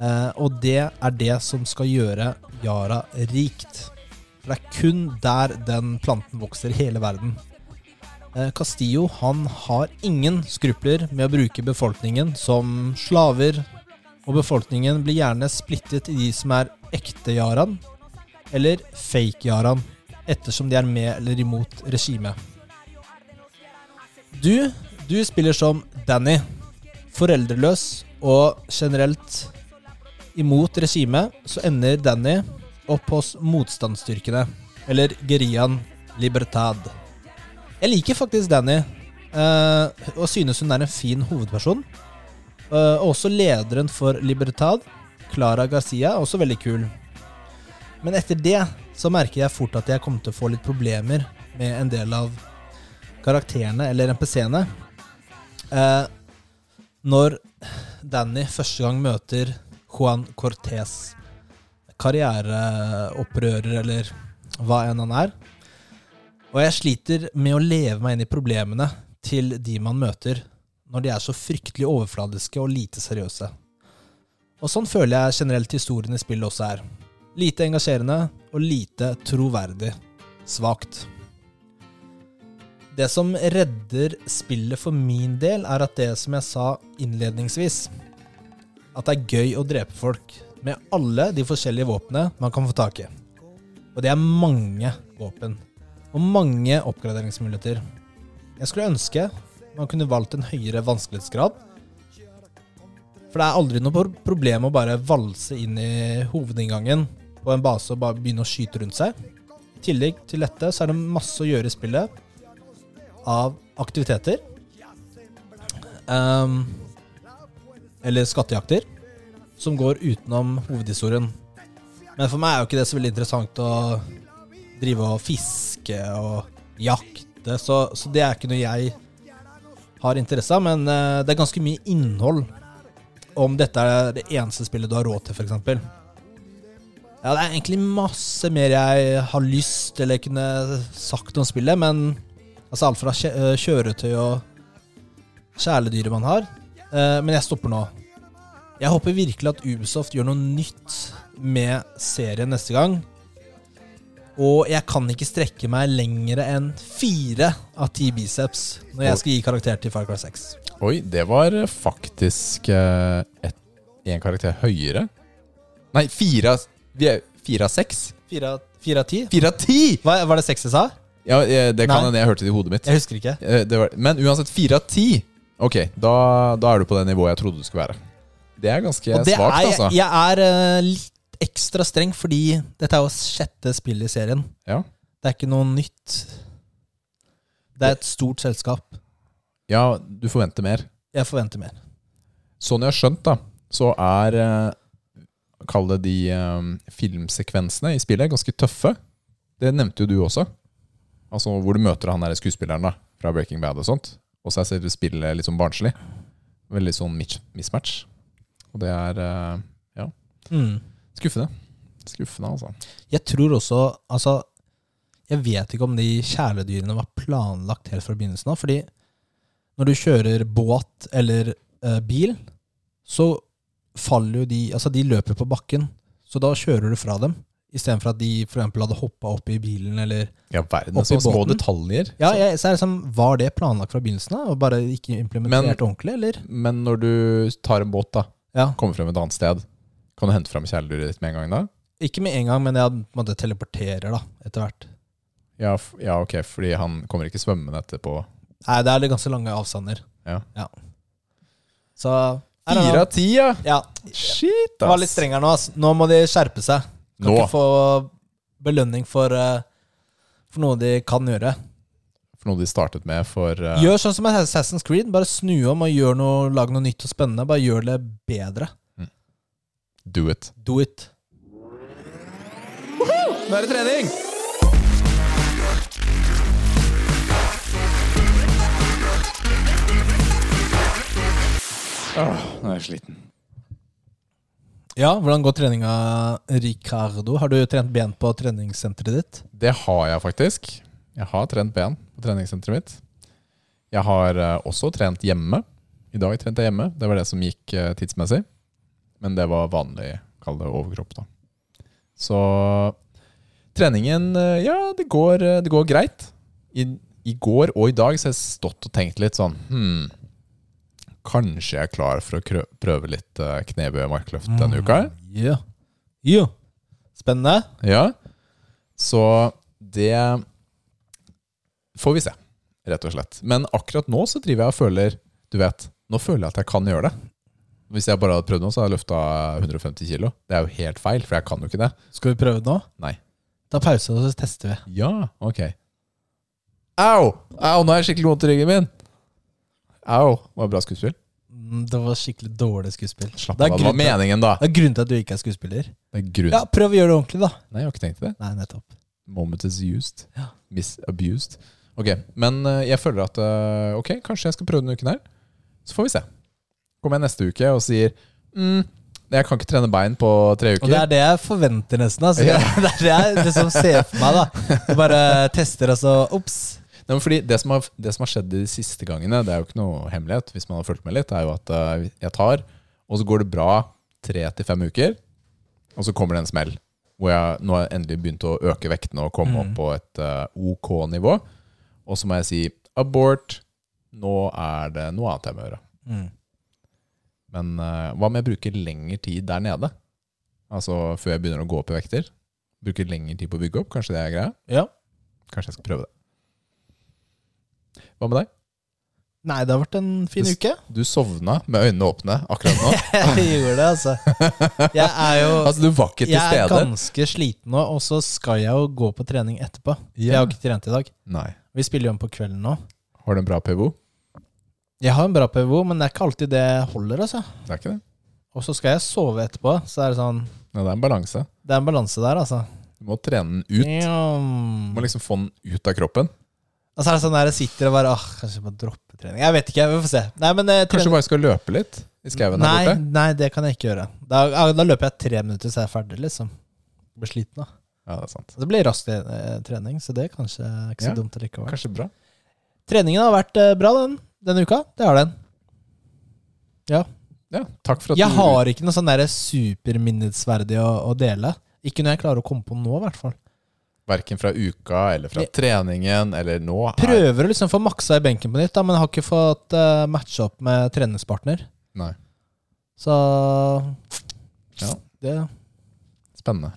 Eh, Og det er det som skal gjøre Yara rikt. For det er kun der den planten vokser i hele verden. Eh, Castillo han har ingen skrupler med å bruke befolkningen som slaver, og befolkningen blir gjerne splittet i de som er ekte Yaran, eller fake Yaran ettersom de er med eller imot regimet. Du, du spiller som Danny, foreldreløs og generelt imot regimet, så ender Danny opp hos motstandsstyrkene, eller Gerian Libertad. Jeg liker faktisk Danny, eh, og synes hun er en fin hovedperson. Eh, og også lederen for Libertad, Clara Garcia, er også veldig kul. Men etter det så merker jeg fort at jeg kommer til å få litt problemer med en del av karakterene eller NPC-ene. Eh, når Danny første gang møter Juan Cortez, karriereopprører eller hva enn han er. Og jeg sliter med å leve meg inn i problemene til de man møter, når de er så fryktelig overfladiske og lite seriøse. Og sånn føler jeg generelt historien i spillet også er. Lite engasjerende og lite troverdig. Svakt. Det som redder spillet for min del, er at det som jeg sa innledningsvis, at det er gøy å drepe folk med alle de forskjellige våpnene man kan få tak i. Og det er mange våpen. Og mange oppgraderingsmuligheter. Jeg skulle ønske man kunne valgt en høyere vanskelighetsgrad, for det er aldri noe pro- problem å bare valse inn i hovedinngangen på en base og bare begynne å skyte rundt seg. I tillegg til dette så er det masse å gjøre i spillet av aktiviteter. Ehm, eller skattejakter, som går utenom hovedhistorien. Men for meg er jo ikke det så veldig interessant å drive og fiske og jakte, så, så det er ikke noe jeg har interesse av, men eh, det er ganske mye innhold om dette er det eneste spillet du har råd til, f.eks. Ja, det er egentlig masse mer jeg har lyst eller kunne sagt om spillet, men altså alt fra kjø- eh, kjøretøy og kjæledyret man har. Eh, Men jeg stopper nå. Jeg håper virkelig at Ubisoft gjør noe nytt med serien neste gang. Og jeg kan ikke strekke meg lengre enn fire av ti biceps når jeg skal gi karakter til Far Cry 6. Oi, det var faktisk eh, et, en karakter høyere. Nei, fire av- vi er- fire av seks? Fire av- fire av ti? Fire av ti! Hva, var det seks jeg sa? Ja, eh, det Nei. kan hende jeg hørte det i hodet mitt. Jeg husker ikke. Eh, Det var, men uansett, fire av ti. Ok, da, da er du på det nivået jeg trodde du skulle være. Det er ganske Og det svakt, er, altså. Jeg er eh, litt ekstra streng, fordi dette er jo sjette spill i serien. Ja. Det er ikke noe nytt. Det er et stort selskap. ja, du forventer mer. Jeg forventer mer. Sånn jeg har skjønt, da, så er eh, Kall det de eh, filmsekvensene i spillet ganske tøffe. Det nevnte jo du også. Altså Hvor du møter han der skuespilleren da fra Breaking Bad og sånt. Og så er selve spillet litt sånn barnslig. Veldig sånn mitch- mismatch. Og det er eh, Mm. skuffende. Skuffende, altså. Jeg tror også Altså, jeg vet ikke om de kjæledyrene var planlagt helt fra begynnelsen av. Fordi når du kjører båt eller eh, bil, så faller jo de Altså, de løper på bakken, så da kjører du fra dem. Istedenfor at de for eksempel hadde hoppa opp i bilen eller Ja, verden. Oppi Så små båten. detaljer. Ja, jeg, så er det liksom, Var det planlagt fra begynnelsen av, og bare ikke implementert Men- ordentlig, eller? Men når du tar en båt, da, Ja, kommer frem et annet sted, kan du hente frem kjæledyret ditt med en gang da? Ikke med en gang, men jeg på en måte teleporterer da, etter hvert. Ja, f ja, ok, fordi han kommer ikke svømmende etterpå. Nei, det er litt ganske lange avstander. Ja. Så I don't know. Fire av ti, ja! Ja, Shit, det var litt strengere nå, ass. Nå må de skjerpe seg. Kan Nå, ikke få belønning for, eh, for noe de kan gjøre. for noe de startet med for eh, Gjør sånn som Assassin's Creed. Bare snu om og gjør noe, lag noe nytt og spennende. Bare gjør det bedre. Do It. Do it. Nå er det trening! nå er jeg sliten. Ja, hvordan går treninga, Ricardo? Har du trent ben på treningssenteret ditt? Det har jeg faktisk. Jeg har trent ben på treningssenteret mitt. Jeg har eh, også trent hjemme. I dag trente jeg hjemme. Det var det som gikk eh, tidsmessig. Men det var vanlig, kall det overkropp, da. Så treningen eh, Ja, det går, eh, det går greit. I, I går og i dag så har jeg stått og tenkt litt sånn hmm, Kanskje jeg er klar for å krø- prøve litt eh, knebøy og markløft denne uka? her? Ja. Ja. Spennende. Ja. Så det får vi se, rett og slett. Men akkurat nå så driver jeg og føler Du vet, nå føler jeg at jeg kan gjøre det. Hvis jeg bare hadde prøvd nå, så hadde jeg løfta 150 kilo. Det er jo helt feil, for jeg kan jo ikke det. Skal vi prøve det nå? Nei. Ta pause, og så tester vi. Ja, ok. Au! Au, nå har jeg skikkelig vondt i ryggen min! Au. Det var bra skuespill. Mm, Det var skikkelig dårlig skuespill. Slapp Det er av, det var grunnen til- meningen, da. Det er grunnen til at du ikke er skuespiller. Det er grunn. Ja, Prøv å gjøre det ordentlig, da. Nei, jeg har ikke tenkt det. Nei, nettopp. Moment is used. Ja. Misabused. Ok, men eh, jeg føler at eh, Ok, kanskje jeg skal prøve denne uken her. Så får vi se. Kommer jeg neste uke og sier mm, Jeg kan ikke trene bein på tre uker. Og det er det jeg forventer nesten. Altså. Ja. Det er det jeg liksom ser for meg. da Du bare tester, og så ops. Nei, men fordi det som, har, det som har skjedd de siste gangene, det er jo ikke noe hemmelighet, hvis man har fulgt med litt, er jo at eh, jeg tar, og så går det bra tre til fem uker, og så kommer det en smell. Hvor jeg nå har jeg endelig begynt å øke vektene og komme opp på et eh, OK nivå. Og så må jeg si abort. Nå er det noe annet jeg må gjøre. Mm. Men eh, hva om jeg bruker lengre tid der nede? Altså før jeg begynner å gå opp i vekter? Bruker lengre tid på å bygge opp? Kanskje det er greia? Ja. Kanskje jeg skal prøve det. Hva med deg? Nei, det har vært en fin Det- uke. Du sovna med øynene åpne akkurat nå. Jeg gjorde det, altså. Jeg er jo Altså, du var ikke til jeg er stede. ganske sliten nå, og så skal jeg jo gå på trening etterpå. Ja. Jeg har ikke trent i dag. Nei. Vi spiller jo om på kvelden nå. Har du en bra PVO? Jeg har en bra PVO, men det er ikke alltid det holder. altså Det er ikke det. Og så skal jeg sove etterpå, så er det sånn Nei, det er en balanse. Det er en balanse der, altså. Du må trene den ut. Du Mm. må liksom få den ut av kroppen. Og så er det sånn der jeg sitter og bare Åh, kanskje jeg må droppe trening. Jeg vet ikke, vi får se. Nei, men eh, Kanskje trening- du bare skal løpe litt i skauen her nei, borte? nei, det kan jeg ikke gjøre. Da, ja, da løper jeg tre minutter, så er jeg ferdig, liksom. Blir sliten, da. Ja, det er sant. Og Det blir rask eh, trening, så det er kanskje ikke så Ja, dumt likevel. Kanskje bra. Treningen har vært eh, bra den, denne uka. Det har den. Ja, takk for at Jeg du har ikke noe sånn der superminnesverdig å, å dele. Ikke når jeg klarer å komme på nå, i hvert fall. Verken fra uka eller fra Jeg- treningen eller nå her. Prøver å liksom få maksa i benken på nytt, da, men har ikke fått eh, matcha opp med treningspartner. Nei. Så Ja. det Spennende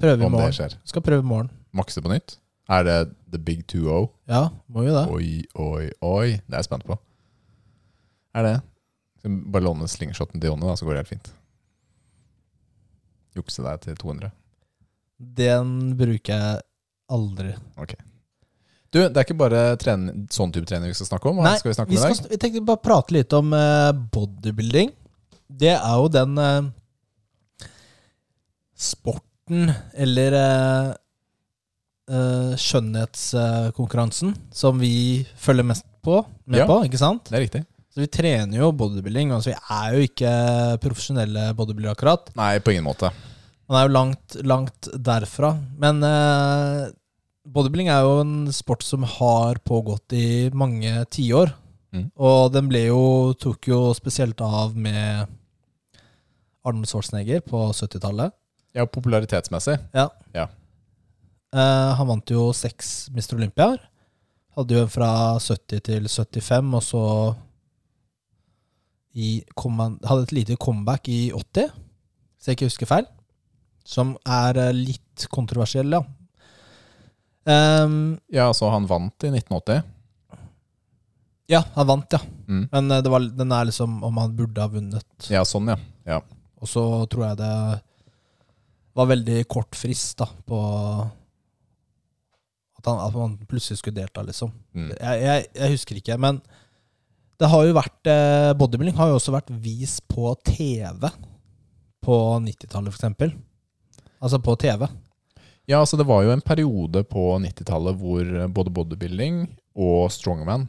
prøver vi i om det morgen. skjer. Skal prøve i morgen. Makse på nytt? Er det the big oh? 2-0? Ja, må jo det. Oi, oi, oi. Det er jeg spent på. Er det Så Bare låne slingshoten til Jonny, da, så går det helt fint. Jukse deg til 200. Den bruker jeg aldri. Du, det er ikke bare trening, sånn type trening vi skal snakke om. Hva Nei, skal vi snakke om Vi i dag? skal, vi tenkte bare prate litt om eh, bodybuilding. Det er jo den eh, sporten, eller eh, eh, skjønnhetskonkurransen, som vi følger mest på, med Ja. på, ikke sant? Det er riktig. Så vi trener jo bodybuilding, altså vi er jo ikke profesjonelle bodybuildere akkurat. Nei, på ingen måte. Man er jo langt, langt derfra. Men eh, bodybuilding er jo en sport som har pågått i mange tiår. Mm. Og den ble jo, tok jo spesielt av med Arnold Schwarzenegger på 70-tallet. Ja, popularitetsmessig. Eh, han vant jo seks Mr. Olympiaer. Hadde jo en fra 70 til 75, og så i, kom han, hadde et lite comeback i 80, så jeg ikke husker feil. Som er eh, litt kontroversiell, ja. Ehm, Ja, altså, han vant i 1980. ja, han vant, ja. Mm. Men eh, det var, den er liksom om han burde ha vunnet. Ja, sånn, ja. Og så tror jeg det var veldig kort frist da, på at, han, at man plutselig skulle delta, liksom. Mm. Jeg, jeg, jeg husker ikke, men det har jo vært eh, Bodybuilding har jo også vært vist på TV på 90-tallet, f.eks. Altså på TV. Ja, altså det var jo en periode på 90-tallet hvor både bodybuilding og strongman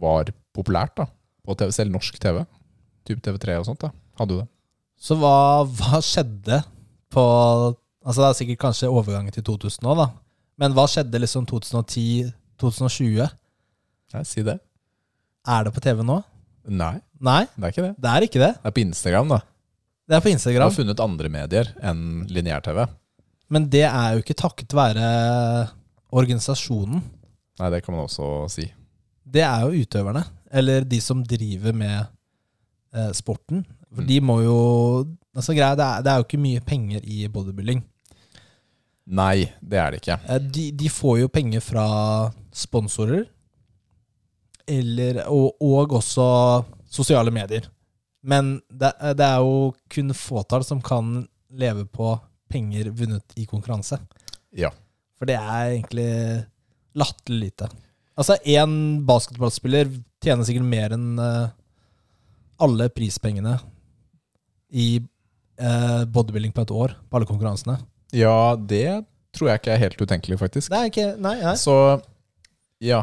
var populært da, på TV, selv norsk TV. Typ TV3 og sånt da, hadde jo det. Så hva, hva skjedde på Altså det er sikkert kanskje overgangen til 2000 nå, da. Men hva skjedde liksom 2010-2020? Nei, si det. Er det på TV nå? Nei, Nei, det er ikke det. det er ikke det. Det er på Instagram da. Det er på Vi har Instagram. funnet andre medier enn lineær-TV. Men det er jo ikke takket være organisasjonen. Nei, det kan man også si. Det er jo utøverne, eller de som driver med eh, sporten. For de må jo altså greia, det, er, det er jo ikke mye penger i bodybuilding. Nei, det er det ikke. Eh, de, de får jo penger fra sponsorer, eller, og, og også sosiale medier. Men det, eh, det er jo kun fåtall som kan leve på penger vunnet i konkurranse. Ja. For det er egentlig latterlig lite. Altså, én basketballspiller tjener sikkert mer enn eh, alle prispengene i eh, bodybuilding på et år, på alle konkurransene. Ja, det tror jeg ikke er helt utenkelig faktisk. Det er ikke Nei, nei. Så ja.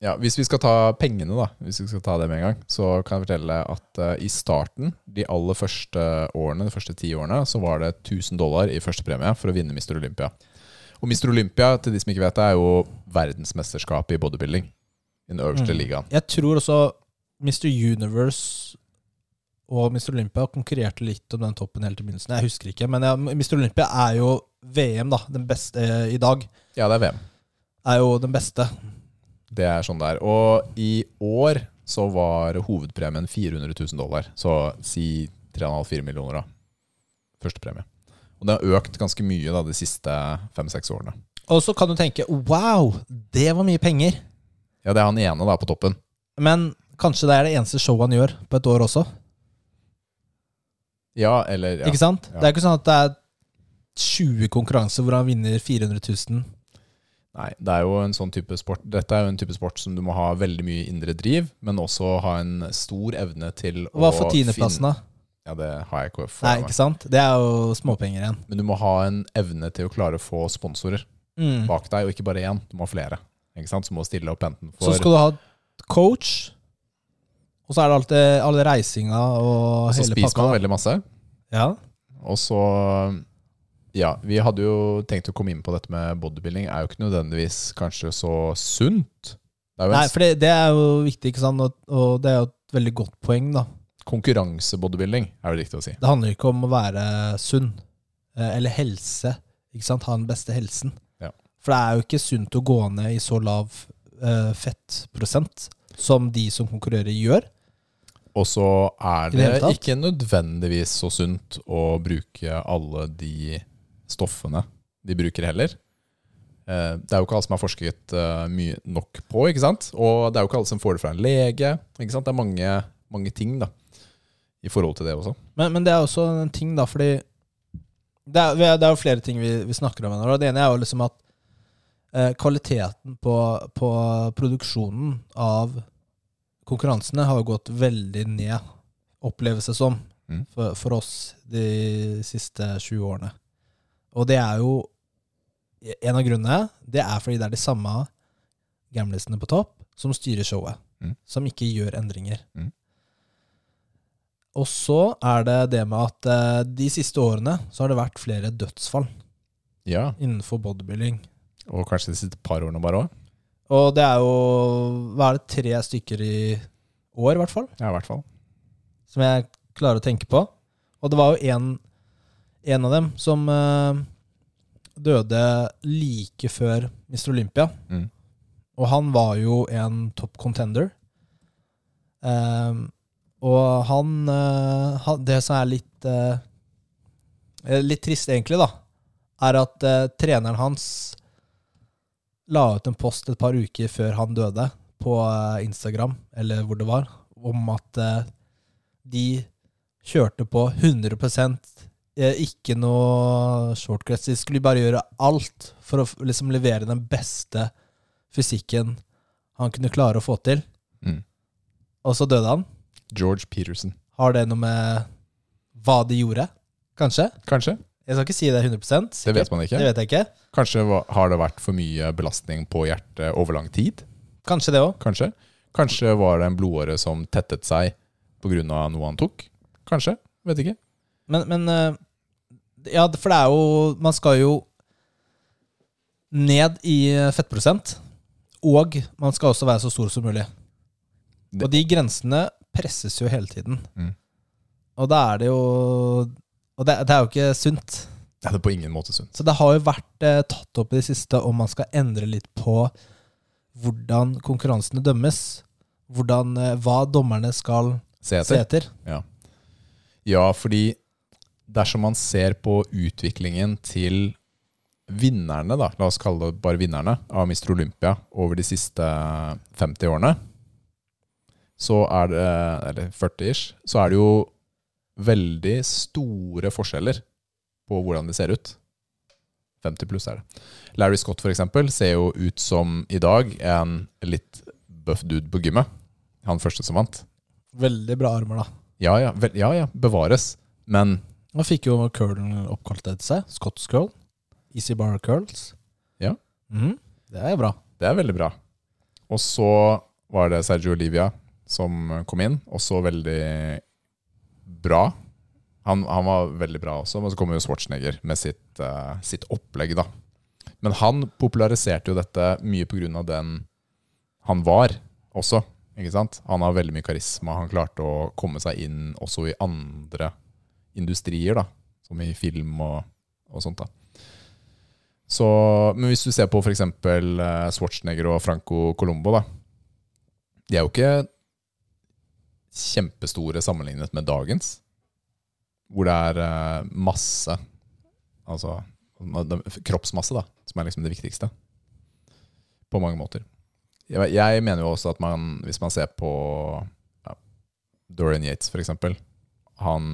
ja. Hvis vi skal ta pengene, da, hvis vi skal ta det med en gang, så kan jeg fortelle at eh, i starten, de aller første årene, de første ti årene, så var det 1000 dollar i førstepremie for å vinne Mr. Olympia. Og Mr. Olympia, til de som ikke vet det, er jo verdensmesterskapet i bodybuilding. I den øverste Mm. ligaen. Jeg tror også Mr. Universe og Mr. Olympia konkurrerte litt om den toppen helt i begynnelsen. Jeg husker ikke, men ja, Mr. Olympia er jo VM, da. Den beste eh, i dag Ja, det er VM. er jo den beste. Det er sånn det er. Og i år så var hovedpremien 400 000 dollar. Så si 3,5-4 millioner, da. Førstepremie. Og det har økt ganske mye da, de siste fem-seks årene. Og så kan du tenke wow, det var mye penger. Ja, det er han ene da på toppen. Men kanskje det er det eneste showet han gjør på et år også. Ja, eller ja. Ikke sant? Ja. Det er ikke sånn at det er 20 konkurranser hvor han vinner 400 000. Nei, det er jo en sånn type sport. Dette er jo en type sport som du må ha veldig mye indre driv, men også ha en stor evne til Og hva får tiendeplassen, finne- da? Ja, det har jeg ikke Nei, for meg. ikke sant? Det er jo småpenger igjen. Men du må ha en evne til å klare å få sponsorer Mm. bak deg, og ikke bare én. Du må ha flere. Ikke sant? Så må du stille opp enten for Så skal du ha coach, og så er det alt det, alle reisinga og Og så hele spiser pakka. man veldig masse. Ja. Og så Ja, vi hadde jo tenkt å komme inn på dette med bodybuilding. Er jo ikke nødvendigvis kanskje så sunt. Det er jo en Nei, for det, det er jo viktig, ikke sant? Og, og det er jo et veldig godt poeng, da. konkurransebodybuilding, er det riktig å si. Det handler ikke om å være sunn eh, eller helse. Ikke sant? Ha den beste helsen. Ja. For det er jo ikke sunt å gå ned i så lav eh, fettprosent som de som konkurrerer, gjør. Og så er I det det hele tatt? ikke nødvendigvis så sunt å bruke alle de stoffene de bruker heller. Eh, Det er jo ikke alle som har forsket eh, mye nok på, ikke sant? Og det er jo ikke alle som får det fra en lege. Ikke sant? Det er mange, mange ting da, i forhold til det også. Men, men det er også en ting, da, fordi Det er, vi er- det er jo flere ting vi, vi snakker om her. og Det ene er jo liksom at eh, kvaliteten på, på produksjonen av konkurransene har jo gått veldig ned, oppleves det som, Mm. for, for oss de siste 20 årene. Og det er jo En av grunnene det er fordi det er de samme gamlistene på topp som styrer showet, Mm. som ikke gjør endringer. Mm. Og så er det det med at eh, de siste årene så har det vært flere dødsfall Ja, innenfor bodybuilding. Og kanskje de siste par årene bare òg. Og det er jo Hva er det, tre stykker i år, i hvert fall, Ja, i hvert fall. som jeg klarer å tenke på. Og det var jo en, en av dem som eh, døde like før Mr. Olympia. Mm. Og han var jo en topp contender. Ehm, og han, eh, han Det som er litt eh, eh, Litt trist, egentlig, da, er at eh, treneren hans la ut en post et par uker før han døde, på eh, Instagram, eller hvor det var, om at eh, de kjørte på 100 eh, ikke noe shortcuts. De skulle bare gjøre alt for å f- liksom levere den beste fysikken han kunne klare å få til. Mm. Og så døde han. George Peterson. Har det noe med hva de gjorde? Kanskje? Kanskje. Jeg skal ikke si det 100 Det sikkert. vet man Det ikke. vet jeg ikke. Kanskje va- har det vært for mye belastning på hjertet over lang tid. Kanskje det òg. Kanskje. Kanskje var det en blodåre som tettet seg pga. noe han tok. Kanskje. Vet ikke. Men, men eh, Ja, for det er jo Man skal jo ned i eh, fettprosent. Og man skal også være så stor som mulig. Det- Og de grensene presses jo hele tiden. Mm. Og da er det jo Og det, det er jo ikke sunt. Det er på ingen måte sunt. Så det har jo vært eh, tatt opp i det siste om man skal endre litt på hvordan konkurransene dømmes. Hvordan, eh, hva dommerne skal Se se etter. etter. Ja, fordi dersom man ser på utviklingen til vinnerne, da, la oss kalle det bare vinnerne, av Mr. Olympia over de siste 50 årene, så er det, eller 40-ish, så er det jo veldig store forskjeller på hvordan de ser ut. 50 pluss er det. Larry Scott for eksempel ser jo ut som i dag en litt buff dude på gymmet. Han første som vant. Veldig bra armer, da. Ja ja, vel, ja, ja bevares. Men Han fikk jo curlen oppkalt etter seg. Scots curl. Easy bar curls. Ja. Mhm. Det er jo bra. Det er veldig bra. Og så var det Sergio Olivia som kom inn, også veldig bra. Han, han var veldig bra også, men så kom jo Schwarzenegger med sitt, eh, sitt opplegg, da. Men han populariserte jo dette mye pga. den han var også. ikke sant? Han har veldig mye karisma. Han klarte å komme seg inn også i andre industrier, da. Som i film og, og sånt, da. Så, men hvis du ser på f.eks. Schwarzenegger og Franco Colombo, da. De er jo ikke kjempestore sammenlignet med dagens, hvor det er eh, masse Altså de- kroppsmasse, da, som er liksom det viktigste. På mange måter. Jeg, jeg mener jo også at man, hvis man ser på ja, Dorian Yates, f.eks. Han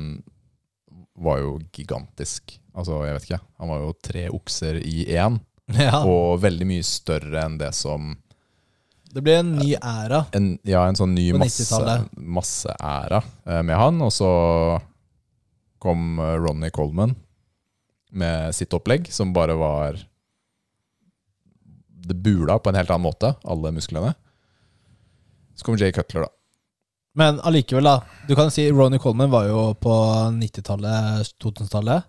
var jo gigantisk. Altså, jeg vet ikke. Han var jo tre okser i én, Ja. og veldig mye større enn det som Det blir en ny æra. en, Ja, en sånn ny På masse, 90-tallet. masseæra eh, med han. Og så kom eh, Ronny Coleman med sitt opplegg, som bare var Det bula på en helt annen måte, alle musklene. Så kom Jay Cutler, da. Men allikevel, da. Du kan si Ronny Coleman var jo på 90-tallet, 2000-tallet.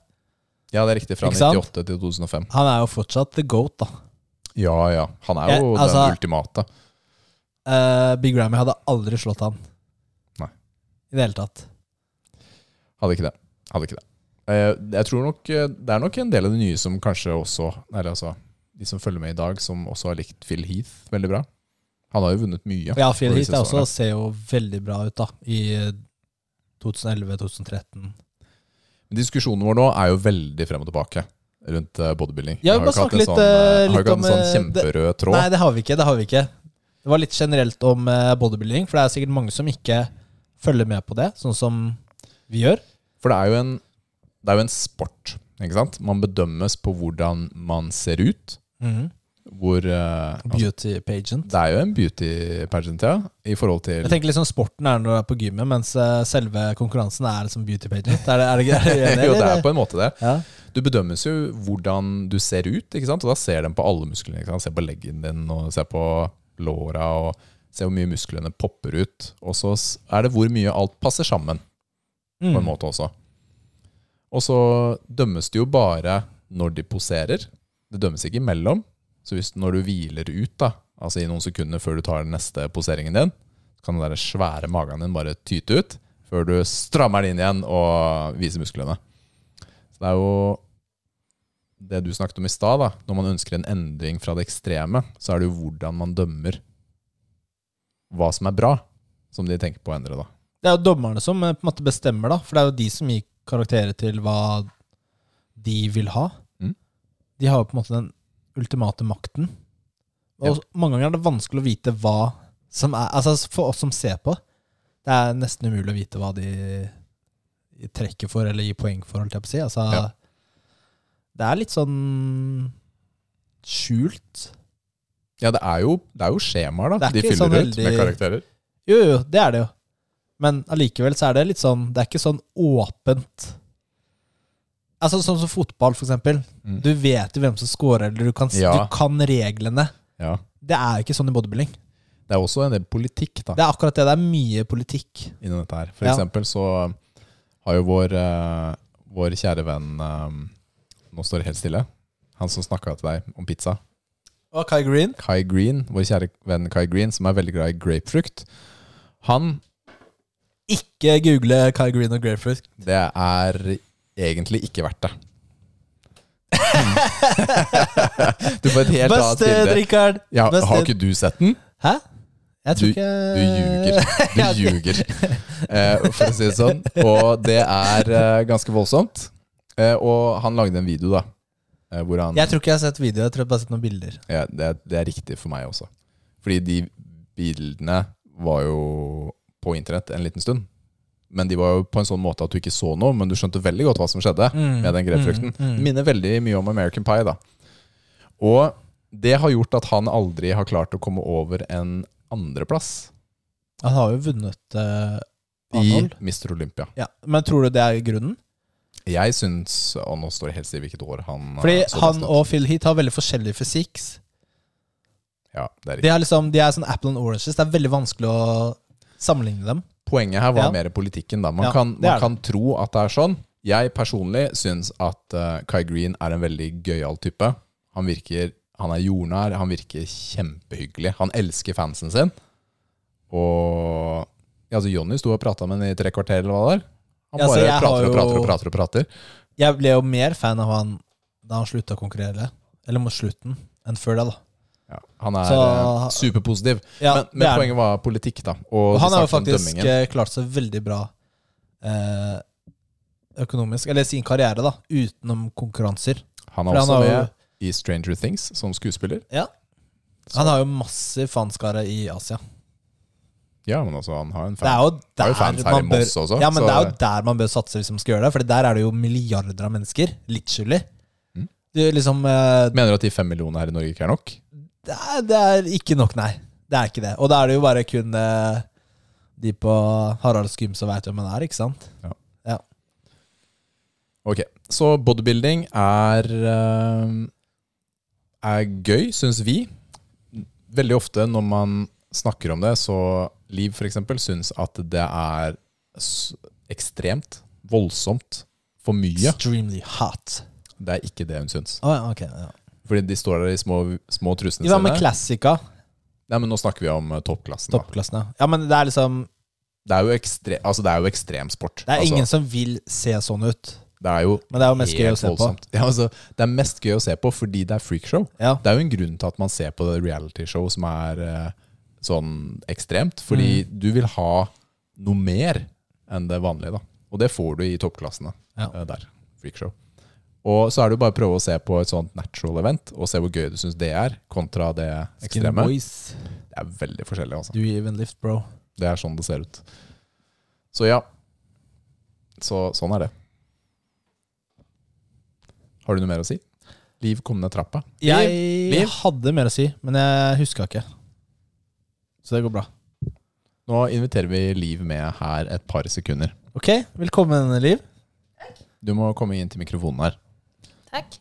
Ja, det er riktig. Fra Ikke sant? 98 til 2005. Han er jo fortsatt the goat, da. Ja, ja. Han er Jeg- jo altså- den ultimate. Eh, Big Grammy hadde aldri slått han. Nei. I det hele tatt. Hadde ikke det. Hadde ikke det. Eh, Jeg tror nok eh, Det er nok en del av de nye som kanskje også Eller altså de som følger med i dag, som også har likt Phil Heath veldig bra. Han har jo vunnet mye. Ja, Phil for Heath disse er også årene. ser jo veldig bra ut, da. I eh, 2011-2013. Men Diskusjonen vår nå er jo veldig frem og tilbake rundt eh, bodybuilding. Ja, Vi bare har jo ikke snakke hatt en litt, eh, sånn, eh, har litt jo ikke hatt en om, sånn eh, det- kjemperød tråd. Nei, det har vi ikke. Det har vi ikke. Det var litt generelt om eh, bodybuilding, for det er sikkert mange som ikke følger med på det. Sånn som vi gjør. For det er jo en, det er jo en sport. Ikke sant? Man bedømmes på hvordan man ser ut. Hvor eh, altså, Mhm. Beauty pageant. Det er jo en beauty pageant, ja. I forhold til Jeg tenker liksom sporten er når du er på gymmet, mens eh, selve konkurransen er liksom beauty pageant. Er det, er det, er det, er det, Jo, det er på en måte det. Ja. Du bedømmes jo hvordan du ser ut, ikke sant? og da ser de på alle musklene. Ikke sant? Ser på leggen din, og ser på låra, og ser hvor mye musklene popper ut. Og så s- er det hvor mye alt passer sammen, Mm. på en måte også. Og så dømmes det jo bare når de poserer. Det dømmes ikke imellom. Så hvis, når du hviler ut, da, altså i noen sekunder før du tar den neste poseringen din, så kan den der svære magen din bare tyte ut før du strammer den inn igjen og viser musklene. Så det er jo det du snakket om i stad. da. Når man ønsker en endring fra det ekstreme, så er det jo hvordan man dømmer hva som er bra, som de tenker på å endre. da. Det er jo dommerne som eh, på en måte bestemmer, da. For det er jo de som gir karakterer til hva de vil ha. Mm. De har jo på en måte den ultimate makten. Og Ja. s- mange ganger er det vanskelig å vite hva som er Altså for oss som ser på, det er nesten umulig å vite hva de trekker for eller gir poeng for, holdt jeg på å si. Altså Ja. Det er litt sånn skjult. Ja, det er jo, det er jo skjemaer da, Det er de ikke fyller sånn ut veldig- med karakterer. Jo, jo, det er det jo. Men allikevel så er det litt sånn Det er ikke sånn åpent. Altså Sånn som fotball, for eksempel. Mm. Du vet jo hvem som scorer, eller du kan, s- Ja. du kan reglene. Ja. Det er jo ikke sånn i bodybuilding. Det er også en del politikk da, Det er akkurat det. Det er mye politikk. innen dette her. For Ja. eksempel så har jo vår, eh, vår kjære venn eh, Nå står det helt stille. Han som snakka til deg om pizza. Og Kai Green Kai Green, vår kjære venn Kai Green, som er veldig glad i grapefrukt. Han, Ikke google Kai Green og grapefruit. det er egentlig ikke verdt det. du får et helt annet Busted, bilde. Rikard! Ja, har Busted. ikke du sett den? Hæ? Jeg tror ikke Du ljuger. Du Ja, ok. ljuger, eh, for å si det sånn. Og det er eh, ganske voldsomt. Eh, og han lagde en video, da. Eh, hvor han Jeg tror ikke jeg har sett video. Jeg tror jeg bare har sett noen bilder. ja, det, er- det er riktig for meg også. Fordi de bildene var jo på internett en liten stund. Men de var jo på en sånn måte at du ikke så noe, men du skjønte veldig godt hva som skjedde Mm, med den grepfrukten. mm, mm. Det minner veldig mye om American Pie, da. Og det har gjort at han aldri har klart å komme over en andreplass Han har jo vunnet eh, i Arnold. Mr. Olympia. Ja. Men tror du det er grunnen? Jeg syns Og nå står det helt stille hvilket år han eh, Fordi så best han ut. og Phil Heath har veldig forskjellig fysikk. ja, det er De riktig. er, liksom, de er sånn apple and oranges. Det er veldig vanskelig å sammenligne dem. Poenget her var Ja. mer politikken, da. Man, Ja, kan, det er det. man kan tro at det er sånn. Jeg personlig syns at eh, Kai Green er en veldig gøyal type. Han virker Han er jordnær, han virker kjempehyggelig. Han elsker fansen sin. Og ja, altså Jonny sto og prata med han i tre kvarter, eller hva det var. Han Ja, så bare jeg har prater og prater jo- og prater. og prater Jeg ble jo mer fan av han da han slutta å konkurrere, eller mot slutten, enn før det. da ja, Han er Så- eh, superpositiv. ja, men men det er han. poenget var politikk, da. Og Og vi han har jo snakket om faktisk dømmingen. eh, klart seg veldig bra eh, økonomisk, eller sin karriere, da utenom konkurranser. Han For er han også har jo- med i Stranger Things som skuespiller. Ja Så- Han har jo massiv fanskare i Asia. Ja, men altså, han har en Det fan. er jo har jo der fans her i man bør Moss også, Ja, men så- det er jo der man bør satse hvis man skal gjøre det. For der er det jo milliarder av mennesker. Litt skyldig. Mm. Du, liksom, eh, Mener du at de fem millionene her i Norge ikke er nok? det, er, det er ikke nok, nei. Det er ikke det. Og da er det jo bare kun eh, de på Harald Skum som veit hvem han er, ikke sant? Ok, så bodybuilding er, eh, er gøy, syns vi. Veldig ofte når man snakker om det, så Liv f.eks. syns at det er s- ekstremt, voldsomt, for mye. Extremely hot. Det er ikke det hun syns. Å, ja, ok, ja. Fordi de står der i små, små trusene De var med sine. Classica, Nei, men nå snakker vi om eh, toppklassen. da. toppklassen. Ja. ja, men det er liksom Det er jo, ekstre altså, det er jo ekstremsport. Det er altså, ingen som vil se sånn ut. det er jo Men det er jo mest gøy å helt se på. voldsomt. Ja, altså, det er mest gøy å se på fordi det er freakshow. Ja. Det er jo en grunn til at man ser på det realityshow som er eh, sånn ekstremt, fordi Mm. du vil ha noe mer enn det vanlige. da. Og det får du i toppklassene Ja. eh, der. Freakshow. Og så er det jo bare å prøve å se på et sånt natural event, og se hvor gøy du syns det er, kontra det Skinny ekstreme. boys. Det er veldig forskjellig, altså. Do you even lift, bro? Det er sånn det ser ut. Så ja. Så sånn er det. Har du noe mer å si? Liv kom ned trappa. Jeg Liv? hadde mer å si, men jeg huska ikke. Så det går bra. Nå inviterer vi Liv med her et par sekunder. Ok, velkommen, Liv. Du må komme inn til mikrofonen her. Takk.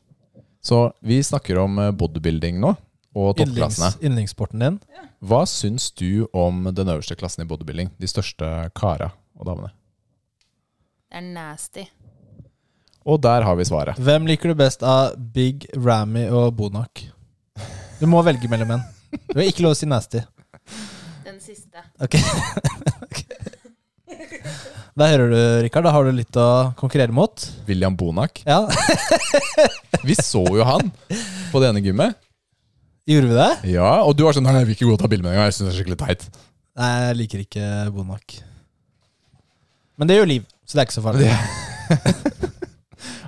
Så vi snakker om eh, bodybuilding nå, og toppklassene. Yndlings- Yndlingssporten din. Hva syns du om den øverste klassen i bodybuilding? De største kara og damene. Det er nasty. Og der har vi svaret. Hvem liker du best av Big, Ramy og Bonak? Du må velge mellom en. Du har ikke lov å si nasty. Den siste. Ok. Da hører du, Rikard. Da har du litt å konkurrere mot. William Bonak. Ja, Vi så jo han på det ene gymmet. Gjorde vi det? Ja, Og du var sånn Nei, jeg vil ikke gå og ta bilde med deg. Jeg syns det er skikkelig teit. Nei, jeg liker ikke Bonak. Men det gjør Liv, så det er ikke så farlig.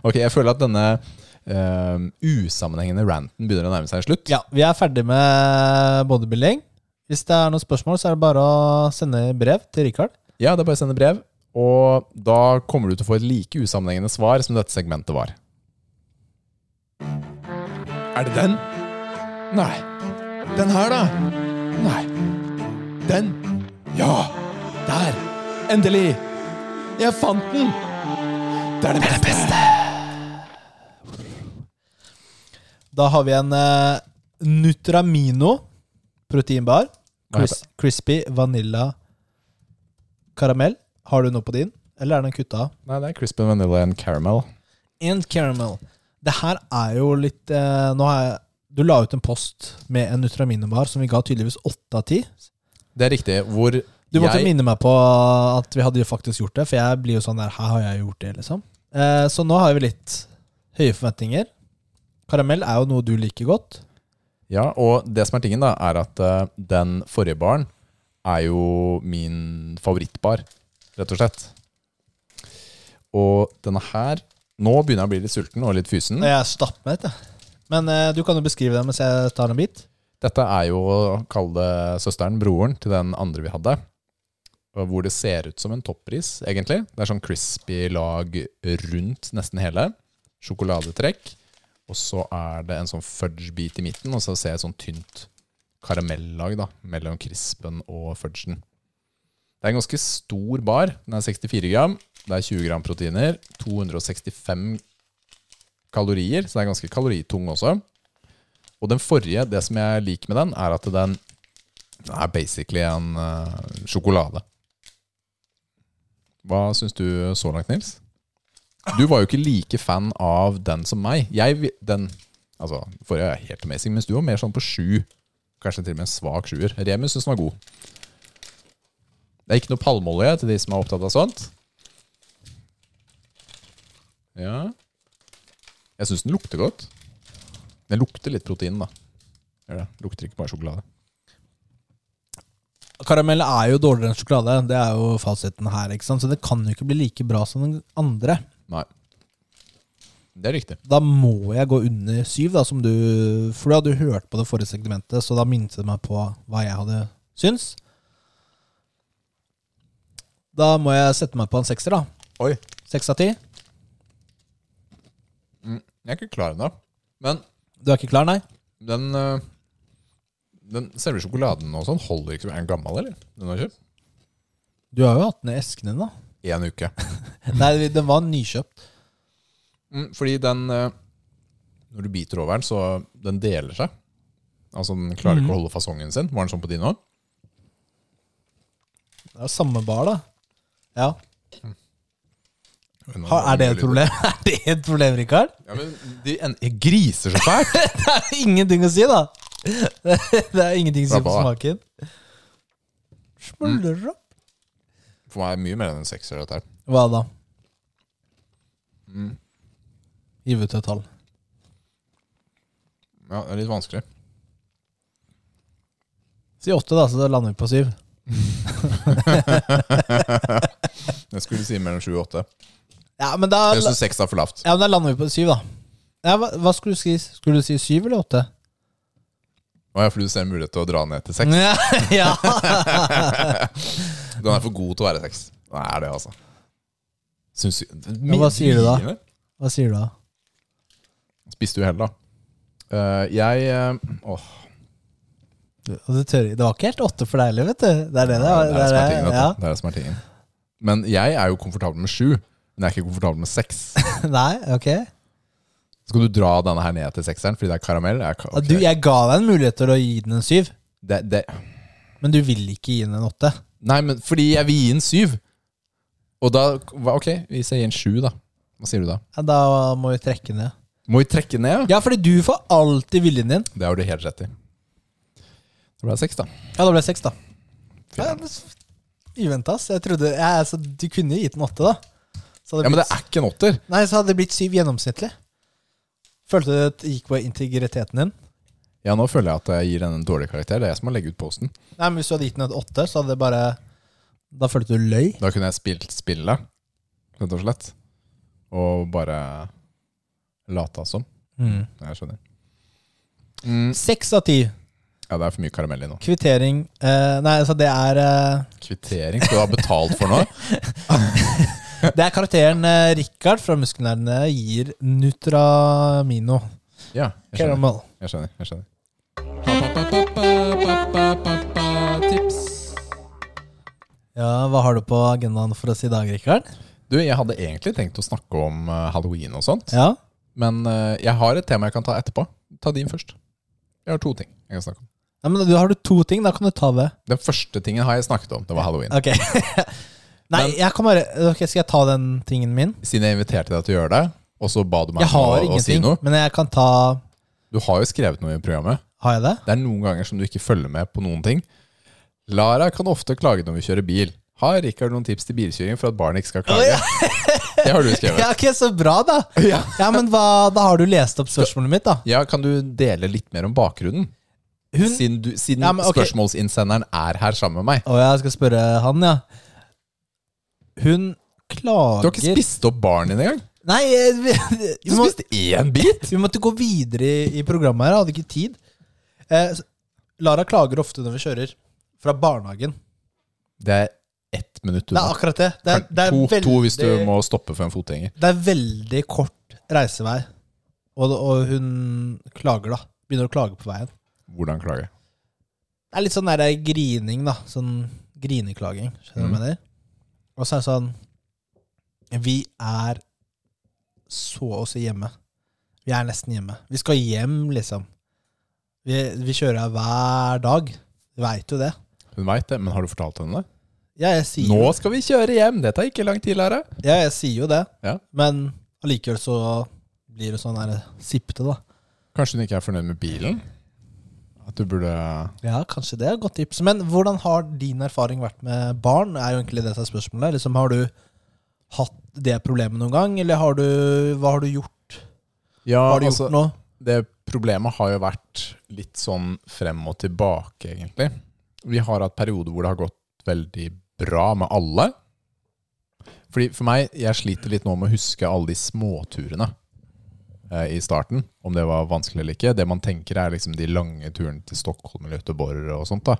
Ok, Jeg føler at denne eh, usammenhengende ranten begynner å nærme seg en slutt. Ja, vi er ferdig med bodybuilding. Hvis det er noen spørsmål, så er det bare å sende brev til Rikard. Ja, det er bare å sende brev. Og da kommer du til å få et like usammenhengende svar som dette segmentet var. Er det den? Nei. Den her, da? Nei. Den? Ja! Der! Endelig! Jeg fant den! Det er det beste! Da har vi en eh, Nutramino proteinbar. Hva heter Cris crispy vanilla karamell. Har du noe på din, eller er den kutta av? Nei, det er crisp and vanilla and caramel. And caramel. Det her er jo litt eh, Nå har jeg Du la ut en post med en Nutramino-bar som vi ga tydeligvis åtte av ti. Det er riktig. Hvor Du måtte jeg minne meg på at vi hadde jo faktisk gjort det, for jeg blir jo sånn der Her har jeg gjort det, liksom. Eh, så nå har vi litt høye forventninger. Karamell er jo noe du liker godt. Ja, og det som er tingen da, er at eh, den forrige baren er jo min favorittbar, rett og slett. Og denne her, nå begynner jeg å bli litt sulten og litt fysen. Jeg er stappmett, jeg. Men eh, du kan jo beskrive det mens jeg tar en bit. Dette er jo, kall det søsteren, broren til den andre vi hadde. Og Hvor det ser ut som en toppris, egentlig. Det er sånn crispy lag rundt nesten hele. Sjokoladetrekk. Og så er det en sånn fudge-bit i midten, og så ser jeg et sånn tynt karamellag da, mellom crispen og fudgen. Det er en ganske stor bar. Den er 64 gram. Det er 20 gram proteiner. 265 kalorier, så det er ganske kaloritung også. Og den forrige, det som jeg liker med den, er at den er basically en eh, sjokolade. Hva syns du så langt, Nils? Du var jo ikke like fan av den som meg. Jeg, vi- den altså, forrige er helt amazing, mens du var mer sånn på sju. Kanskje til og med en svak sjuer. Remus syns den var god. Det er ikke noe palmeolje til de som er opptatt av sånt. Ja Jeg syns den lukter godt. Den lukter litt protein, da. Gjør det. Lukter ikke bare sjokolade. Karamell er jo dårligere enn sjokolade. Det er jo fasiten her, ikke sant? så det kan jo ikke bli like bra som den andre. Nei. Det er riktig. Da må jeg gå under syv, da, som du For du hadde jo hørt på det forrige segmentet, så da minte det meg på hva jeg hadde syns. Da må jeg sette meg på en sekser, da. Oi. Seks av ti. Jeg er ikke klar ennå. Men Du er ikke klar, nei? den, øh, den selve sjokoladen og sånn holder ikke. Er den gammel, eller? Den har kjøpt? Du har jo hatt den i esken din, da. Én uke. Nei, den var nykjøpt. Mm, fordi den øh, Når du biter over den, så den deler seg. Altså, den klarer Mhm. ikke å holde fasongen sin. Var den sånn på din òg? Det er jo samme bar, da. Ja. Ha, er det et problem? Er det et problem, Rikard? Ja, men de en, griser så fælt! Det er ingenting å si, da! Det er ingenting å si Slapp på av, Mm. smaken. Smuldrer opp. For meg er det mye mer enn en sekser, dette her. Hva da? Mm. Giv ut et tall. Ja, det er litt vanskelig. Si åtte, da, så da lander vi på syv. Jeg skulle si mellom sju og åtte. Ja, men da, Jeg syns seks er for lavt. ja, men da lander vi på syv, da. Ja, hva, hva skulle du si? Skulle du si syv eller åtte? Å ja, for du ser en mulighet til å dra ned til seks. Ja, ja. Mm. Den er for god til å være seks. Den er det, altså. Syns, hva sier du da? Hva sier du da? Spiste uhell, da. Eh, jeg eh, Åh, Du, og du tør, det var ikke helt åtte for deg heller, vet du. Det er det det er. det er som er tingen. vet du. ja. Det er det som er tingen. Men jeg er jo komfortabel med sju, men jeg er ikke komfortabel med seks. Nei, ok. Skal du dra denne her ned til sekseren fordi det er karamell? Jeg, Ja, Du, jeg ga deg en mulighet til å gi den en syv, det, det. men du vil ikke gi den en åtte. Nei, men fordi jeg vil gi en syv. Og da hva- Ok, hvis jeg gir en sju, da. Hva sier du da? Ja, da må vi trekke ned. Må vi trekke ned? Ja, fordi du får alltid viljen din. Det har du helt rett i. Da ble det seks, da. Ja, da ble det seks, da. Fy Ja, det s- Uventa, ass. Jeg trodde jeg, altså, Du kunne jo gitt den åtte, da. Så hadde Ja, det Men blitt, det er ikke en åtter. Nei, så hadde det blitt syv gjennomsnittlig. Følte du at det gikk på integriteten din? Ja, nå føler jeg at jeg gir den en dårlig karakter. Det er jeg som har legget ut posten. Nei, men Hvis du hadde gitt den et åtte, så hadde det bare Da følte du løy. Da kunne jeg spilt spillet, rett og slett. Og bare lata som. Jeg skjønner. Mm. Seks av ti. Ja, det er for mye karamell i nå. Kvittering eh, Nei, altså, det er eh, Kvittering skal du ha betalt for nå. Det er karakteren eh, Richard fra Muskelnerdene gir Nutramino. Ja, jeg skjønner. Caramel. Jeg skjønner, jeg skjønner. Ja, Hva har du på agendaen for oss i dag, Richard? Du, jeg hadde egentlig tenkt å snakke om eh, halloween og sånt, Ja. men eh, jeg har et tema jeg kan ta etterpå. Ta din først. Jeg har to ting jeg kan snakke om. ja men da har du to ting, da kan du ta det. Den første tingen har jeg snakket om, det var halloween. Ok. nei, Men- jeg kan bare Ok, Skal jeg ta den tingen min? Siden jeg inviterte deg til å gjøre det, og så ba du meg Jeg om å, har å si ingenting, noe. men jeg kan ta Du har jo skrevet noe i programmet. Har jeg det? Det er noen ganger som du ikke følger med på noen ting. Lara kan ofte klage når vi kjører bil. Har Rikard noen tips til bilkjøring for at barn ikke skal klage? Det har du skrevet. Ja, ok, Så bra, da. Ja. Ja, men hva, Da har du lest opp spørsmålet mitt, da. Ja, Kan du dele litt mer om bakgrunnen? Hun Siden, du, siden Ja, men ok. spørsmålsinnsenderen er her sammen med meg. Å, jeg skal spørre han, ja. Hun klager Du har ikke spist opp baren din engang! Nei, eh, Du må- spiste én bit! Vi måtte gå videre i, i programmet her, jeg hadde ikke tid. Eh, s- Lara klager ofte når vi kjører fra barnehagen. Det er ett minutt Det unna. er akkurat det. Det er, det er, to, veldig, to hvis du må stoppe for en fotgjenger. det er veldig kort reisevei, og, og hun klager, da. Begynner å klage på veien. Hvordan klage? Det er litt sånn der grining, da. Sånn grineklaging. Skjønner du hva Mm. jeg mener? Og så er det sånn Vi er så å si hjemme. Vi er nesten hjemme. Vi skal hjem, liksom. Vi, vi kjører her hver dag. Du veit jo det. Hun veit det, men har du fortalt henne det? Ja, jeg sier, Nå jo- skal vi kjøre hjem! Det tar ikke lang tid, Lara. ja, jeg sier jo det. Ja. Men allikevel så blir det sånn der sippete, da. Kanskje hun ikke er fornøyd med bilen? At du burde Ja, kanskje det er et godt tips. Men hvordan har din erfaring vært med barn? er jo egentlig det som er spørsmålet. Liksom, har du hatt det problemet noen gang, eller har du, hva har du gjort? Ja, altså, Hva har du gjort nå? det problemet har jo vært litt sånn frem og tilbake, egentlig. Vi har hatt perioder hvor det har gått veldig bra med alle. Fordi for meg, jeg sliter litt nå med å huske alle de småturene eh, i starten. Om det var vanskelig eller ikke. Det man tenker er liksom de lange turene til Stockholm eller Göteborg og sånt. da.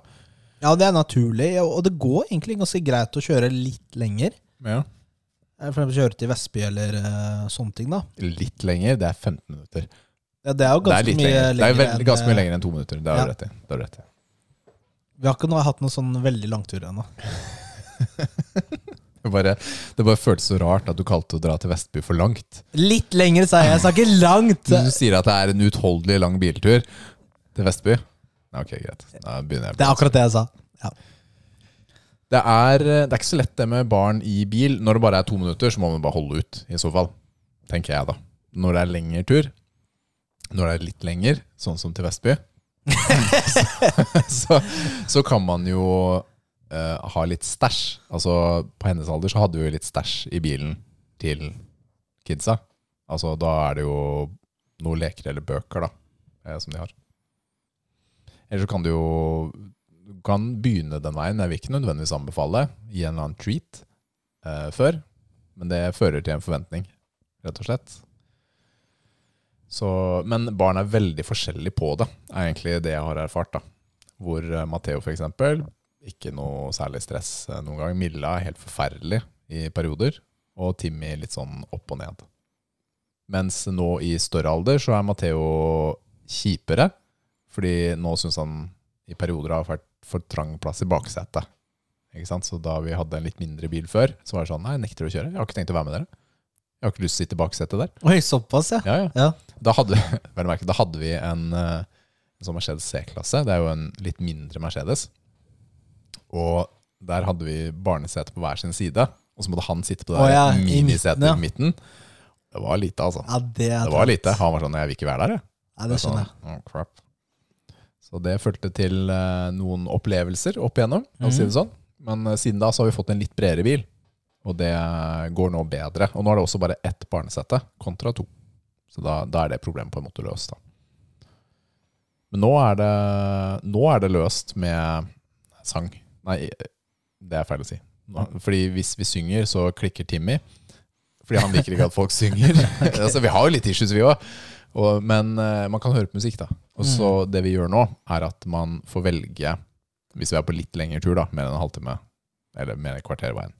Ja, det er naturlig, og det går egentlig ganske greit å kjøre litt lenger. Ja. Eh, For eksempel kjøre til Vestby eller eh, sånne ting, da. Litt lenger, det er 15 minutter. Ja, det er jo Det er ganske litt mye lenger. Det er lenger veldig, ganske mye eh, lenger enn to minutter. Det har du Ja. rett i. Det har du rett i. Vi har ikke noe, hatt noen sånn veldig langtur ennå. Det bare, det bare føltes så rart at du kalte å dra til Vestby for langt. Litt lenger, sa jeg. Jeg sa ikke langt! Du sier at det er en utholdelig lang biltur til Vestby. Ja, Ok, greit. Da begynner jeg. Det er akkurat det jeg sa. Ja. Det er, eh, det er ikke så lett det med barn i bil. Når det bare er to minutter, så må man bare holde ut, i så fall. Tenker jeg, da. Når det er lengre tur, når det er litt lenger, sånn som til Vestby, så, så, så kan man jo eh, ha litt stæsj. Altså, på hennes alder så hadde vi jo litt stæsj i bilen til kidsa. Altså, da er det jo noen leker eller bøker, da, eh, som de har. Eller så kan du jo du kan begynne den veien. Jeg vil ikke nødvendigvis anbefale gi en eller annen treat eh, før, men det fører til en forventning, rett og slett. Så, men barn er veldig forskjellige på det, er egentlig det jeg har erfart. da. Hvor eh, Matteo for eksempel, ikke noe særlig stress eh, noen gang. Milla er helt forferdelig i perioder. og Timmy litt sånn opp og ned. Mens nå i større alder så er Matheo kjipere, fordi nå syns han i perioder har vært for trang plass i baksetet. Ikke sant? Så da vi hadde en litt mindre bil før, så var det sånn Nei, jeg nekter å kjøre. Jeg har ikke tenkt å være med dere. Jeg har ikke lyst til å sitte i baksetet der. Oi, såpass, ja. Ja, ja. Ja. Da, hadde, vel å merke, da hadde vi en, eh, en sånn Mercedes C-klasse. Det er jo en litt mindre Mercedes. Og der hadde vi barnesete på hver sin side. Og så måtte han sitte på det Å der ja, i midten, minisetet ja. i midten. Det var lite, altså. ja det, er Det var trangt. lite. Han var sånn Jeg vil ikke være der, jeg. Nei, det skjønner jeg. Sånn, «Å, crap. Så det førte til eh, noen opplevelser opp igjennom, for å si det Mhm. sånn. Men eh, siden da så har vi fått en litt bredere bil, og det eh, går nå bedre. Og nå er det også bare ett barnesete kontra to. Så da, da er det problemet på en måte løst, da. Men nå er det, nå er det løst med sang. Nei, det er feil å si. Nå- Fordi hvis vi synger, så klikker Timmy. Fordi han liker ikke at folk synger. altså, vi har jo litt issues, vi òg. Og, men eh, man kan høre på musikk, da. Og så det vi gjør nå, er at man får velge, hvis vi er på litt lengre tur, da, mer enn en halvtime, eller mer enn et kvarter veien,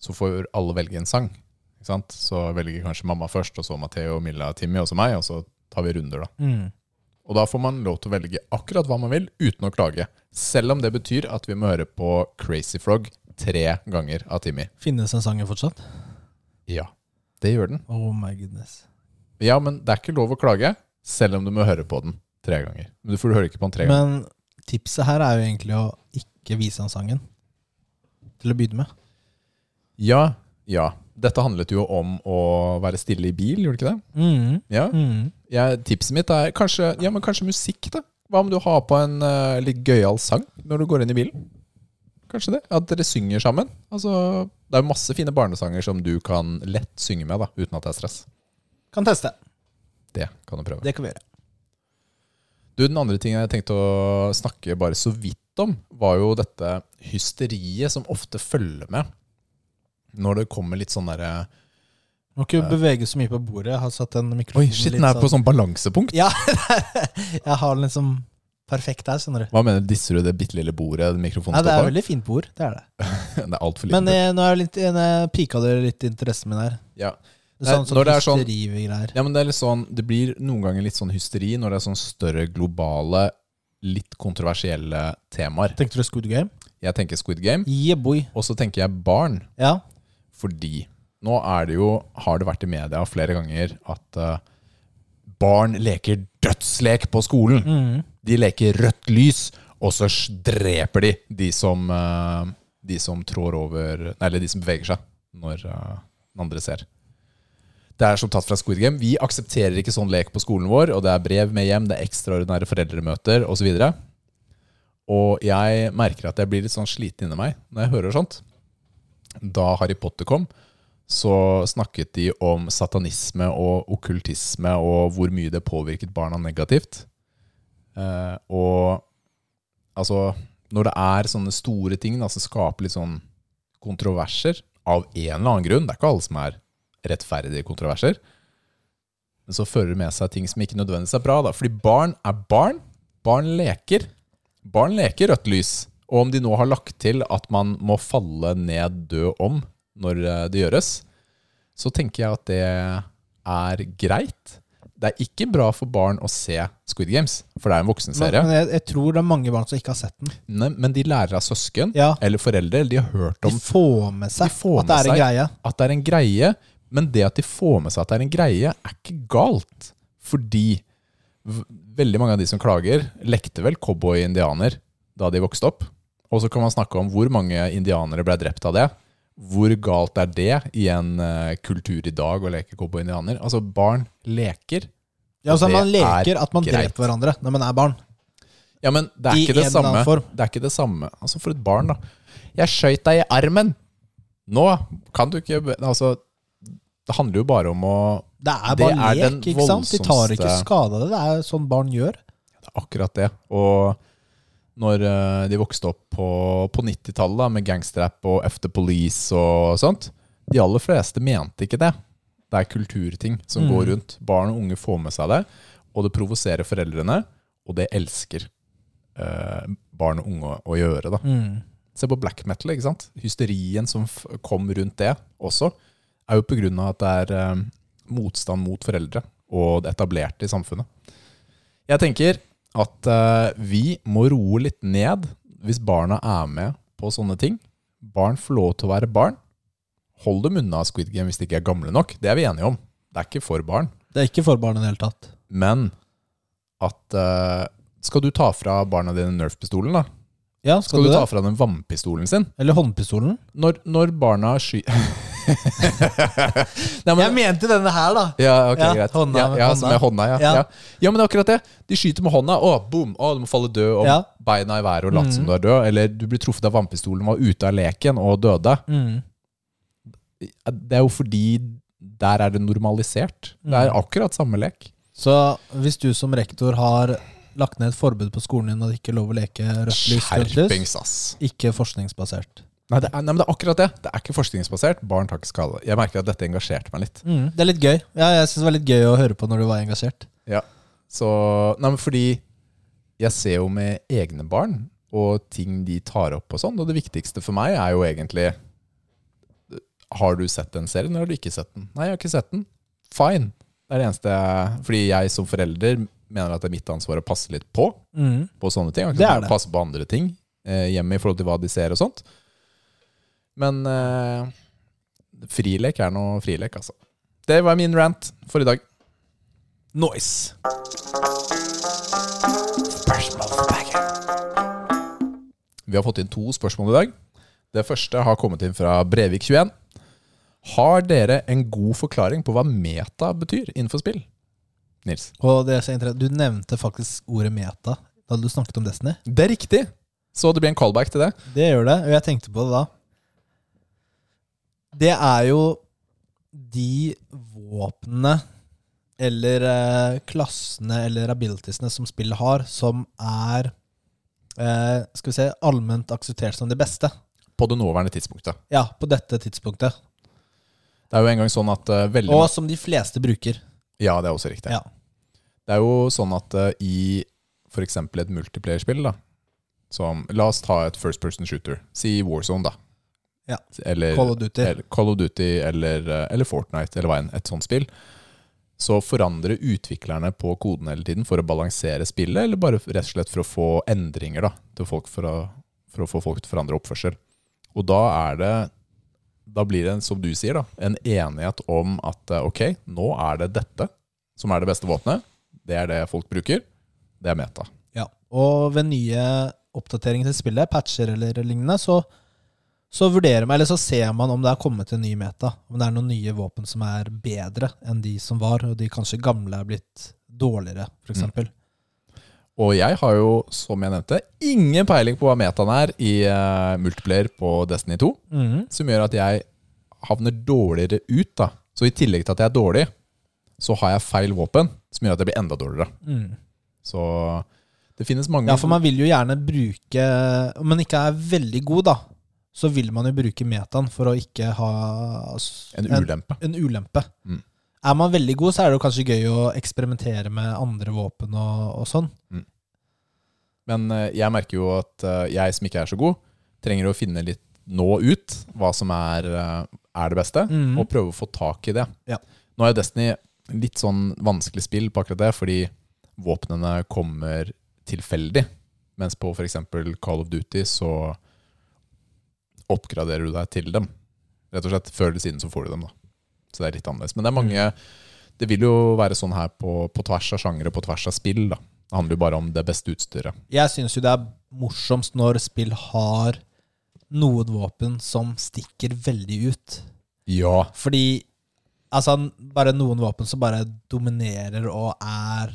så får alle velge en sang. Ikke sant? Så velger kanskje mamma først, og så Matheo, Milla, Timmy, og så meg, og så tar vi runder, da. Mm. Og da får man lov til å velge akkurat hva man vil, uten å klage. Selv om det betyr at vi må høre på Crazy Frog tre ganger av Timmy. Finnes den sangen fortsatt? Ja, det gjør den. Oh my goodness. Ja, men det er ikke lov å klage, selv om du må høre på den tre ganger. Men du får høre ikke på den tre ganger. Men tipset her er jo egentlig å ikke vise han sangen. Til å begynne med. Ja, ja. Dette handlet jo om å være stille i bil, gjorde det ikke det? Ja. Mm. Jeg- tipset mitt er kanskje, ja, men kanskje musikk, da. Hva om du har på en eh, litt gøyal sang når du går inn i bilen? Kanskje det? At dere synger sammen. Altså, det er jo masse fine barnesanger som du kan lett synge med, da, uten at det er stress. Kan teste. Det kan du prøve. Det kan vi gjøre. Du, Den andre tingen jeg tenkte å snakke bare så vidt om, var jo dette hysteriet som ofte følger med når det kommer litt sånn derre Må ikke bevege så mye på bordet. Jeg har satt en mikrofon Oi, shit, den er på sånn balansepunkt! Ja, jeg har den liksom perfekt her, skjønner du. Hva mener du, disser du det bitte lille bordet mikrofonen Ja, det er står på? veldig fint bord, det er det. det er altfor lite. Men eh, nå er jeg litt, eh, nå pika dere litt interessen min her. ja. Det Nei, er sånn som når det er sånn- hysterigreier. ja, men det er litt sånn Det blir noen ganger litt sånn hysteri når det er sånn større globale, litt kontroversielle temaer. Tenkte du Squid Game? Jeg tenker Squid Game, Yeah, boy. og så tenker jeg barn. Ja. Fordi nå er det jo, har det vært i media flere ganger at eh, barn leker dødslek på skolen. De leker rødt lys, og så s- dreper de de som, eh, de som trår over nei, Eller de som beveger seg når eh, den andre ser. Det er som tatt fra Squid Game. Vi aksepterer ikke sånn lek på skolen vår, og det er brev med hjem, det er ekstraordinære foreldremøter osv. Og jeg merker at jeg blir litt sånn sliten inni meg når jeg hører sånt da Harry Potter kom, så snakket de om satanisme og okkultisme og hvor mye det påvirket barna negativt. Eh, og altså Når det er sånne store ting da, som skaper litt sånn kontroverser av en eller annen grunn Det er ikke alle som er rettferdige kontroverser. Men så fører det med seg ting som ikke nødvendigvis er bra. Da. Fordi barn er barn. Barn leker. Barn leker rødt lys, og om de nå har lagt til at man må falle ned død om når eh, det gjøres, så tenker jeg at det er greit. Det er ikke bra for barn å se Squid Games, for det er en Men, voksenserie. men jeg, jeg tror det er mange barn som ikke har sett den. Nei, men de lærer av søsken Ja. eller foreldre, eller de har hørt De om får med seg De får at det med er en seg. greie. at det er en greie, men det at de får med seg at det er en greie, er ikke galt. Fordi v- veldig mange av de som klager, lekte vel cowboy-indianer da de vokste opp. Og så kan man snakke om hvor mange indianere ble drept av det. Hvor galt er det i en eh, kultur i dag å leke cowboy-indianer? Altså, barn leker. Ja, altså, Det man leker er at man greit. dreper hverandre når man er barn. Ja, men det er I ikke en det eller samme. annen form. Det er ikke det samme. Altså, for et barn, da. Jeg skøyt deg i armen! Nå kan du ikke be- Altså, det handler jo bare om å Det er Det bare er den lek, ikke sant? De tar ikke voldsomste- skade av det. Det er sånn barn gjør. Det er akkurat det. Og når eh, de vokste opp på, på 90-tallet da, med gangsterrap og After Police og sånt, de aller fleste mente ikke det. Det er kulturting som går rundt. Barn og unge får med seg det, og det provoserer foreldrene, og det elsker eh, barn og unge å gjøre. da. Se på black metal, ikke sant? Hysterien som f kom rundt det også, er jo pga. at det er eh, motstand mot foreldre og det etablerte i samfunnet. Jeg tenker at eh, vi må roe litt ned hvis barna er med på sånne ting. Barn får lov til å være barn. Hold dem unna Squid Game hvis de ikke er gamle nok. Det er vi enige om. Det er ikke for barn. Det er ikke for barn i det hele tatt. Men at eh, Skal du ta fra barna dine Nerf-pistolen, da? Ja, Skal, du, ta fra dem vannpistolen sin? det? Eller håndpistolen? Når, når barna sky... Nei, men- Jeg mente denne her, da. Ja, ok, Ja, greit. hånda ja, med ja, hånda. Som er hånda, ja. Ja. Ja. ja, men det er akkurat det. De skyter med hånda. Å, boom! Å, du må falle død og Ja. Mm. beina i været og late som du er død. Eller du blir truffet av vannpistolen og var ute av leken og døde. Mm. Det er jo fordi der er det normalisert. Det Mm. er akkurat samme lek. Så hvis du som rektor har lagt ned et forbud på skolen din og det ikke er lov å leke rødt lys, grønt lys, Skjerpings, ass. ikke forskningsbasert. Nei, det er, nei, men det er akkurat det. Det er ikke forskningsbasert. Barn tar ikke skade. Jeg merker at dette engasjerte meg litt. Mm. Det er litt gøy. Ja, jeg syns det var litt gøy å høre på når du var engasjert. Ja. Så, nei, men fordi jeg ser jo med egne barn og ting de tar opp og sånn, og det viktigste for meg er jo egentlig Har du sett den serien, eller har du ikke sett den? Nei, jeg har ikke sett den. Fine. Det er det eneste jeg Fordi jeg som forelder mener at det er mitt ansvar å passe litt på Mm. på sånne ting. Jeg Det kan er ikke det. passe på andre ting eh, hjemme i forhold til hva de ser og sånt. Men eh, frilek er noe frilek, altså. Det var min rant for i dag. Nice. Vi har fått inn to spørsmål i dag. Det første har kommet inn fra Brevik21. Har dere en god forklaring på hva meta betyr innenfor spill? Nils. Og det er så interessant. Du nevnte faktisk ordet meta da du snakket om Destiny. Det er riktig! Så det blir en callback til det. Det gjør det, og jeg tenkte på det da. Det er jo de våpnene eller eh, klassene eller abilitiesene som spillet har, som er eh, skal vi se, allment akseptert som det beste. På det nåværende tidspunktet. Ja, på dette tidspunktet. Det er jo engang sånn at eh, veldig Og som de fleste bruker. Ja, det er også riktig. Ja. Det er jo sånn at eh, i f.eks. et multiplayer-spill, da som, La oss ta et first person shooter. Si Warzone, da. Ja. Eller, Call of Duty. eller, Call of Duty eller, eh, eller Fortnite, eller hva enn. Et sånt spill. Så forandrer utviklerne på koden hele tiden for å balansere spillet, eller bare rett og slett for å få endringer da, til folk for å, for å få folk til å forandre oppførsel. Og da er det Da blir det, en, som du sier, da, en enighet om at eh, ok, nå er det dette som er det beste våpenet. Det er det folk bruker. Det er meta. Ja. Og ved nye oppdateringer til spillet, patcher eller lignende, så, så vurderer man, eller så ser man om det er kommet en ny meta. Om det er noen nye våpen som er bedre enn de som var, og de kanskje gamle er blitt dårligere, Mm. f.eks. eksempel Og jeg har jo, som jeg nevnte, ingen peiling på hva metaen er i eh, multiplayer på Destiny 2, Mhm. som gjør at jeg havner dårligere ut. da. Så i tillegg til at jeg er dårlig, så har jeg feil våpen, som gjør at jeg blir enda dårligere. Mm. Så det finnes mange Ja, for man vil jo gjerne bruke Om man ikke er veldig god, da, så vil man jo bruke metaen for å ikke ha altså, En ulempe. en ulempe. Mm. Er man veldig god, så er det jo kanskje gøy å eksperimentere med andre våpen og, og sånn. Men eh, jeg merker jo at eh, jeg som ikke er så god, trenger å finne litt nå ut hva som er, eh, er det beste, Mhm. og prøve å få tak i det. Ja. Nå er Destiny litt sånn vanskelig spill på akkurat det, fordi våpnene kommer tilfeldig. Mens på f.eks. Call of Duty så oppgraderer du deg til dem. Rett og slett. Før eller siden så får du dem, da. Så det er litt annerledes. Men det er mange Mm. Det vil jo være sånn her på, på tvers av sjangere, på tvers av spill, da. Det handler jo bare om det beste utstyret. Jeg syns jo det er morsomst når spill har noen våpen som stikker veldig ut. Ja. Fordi altså, bare noen våpen som bare dominerer og er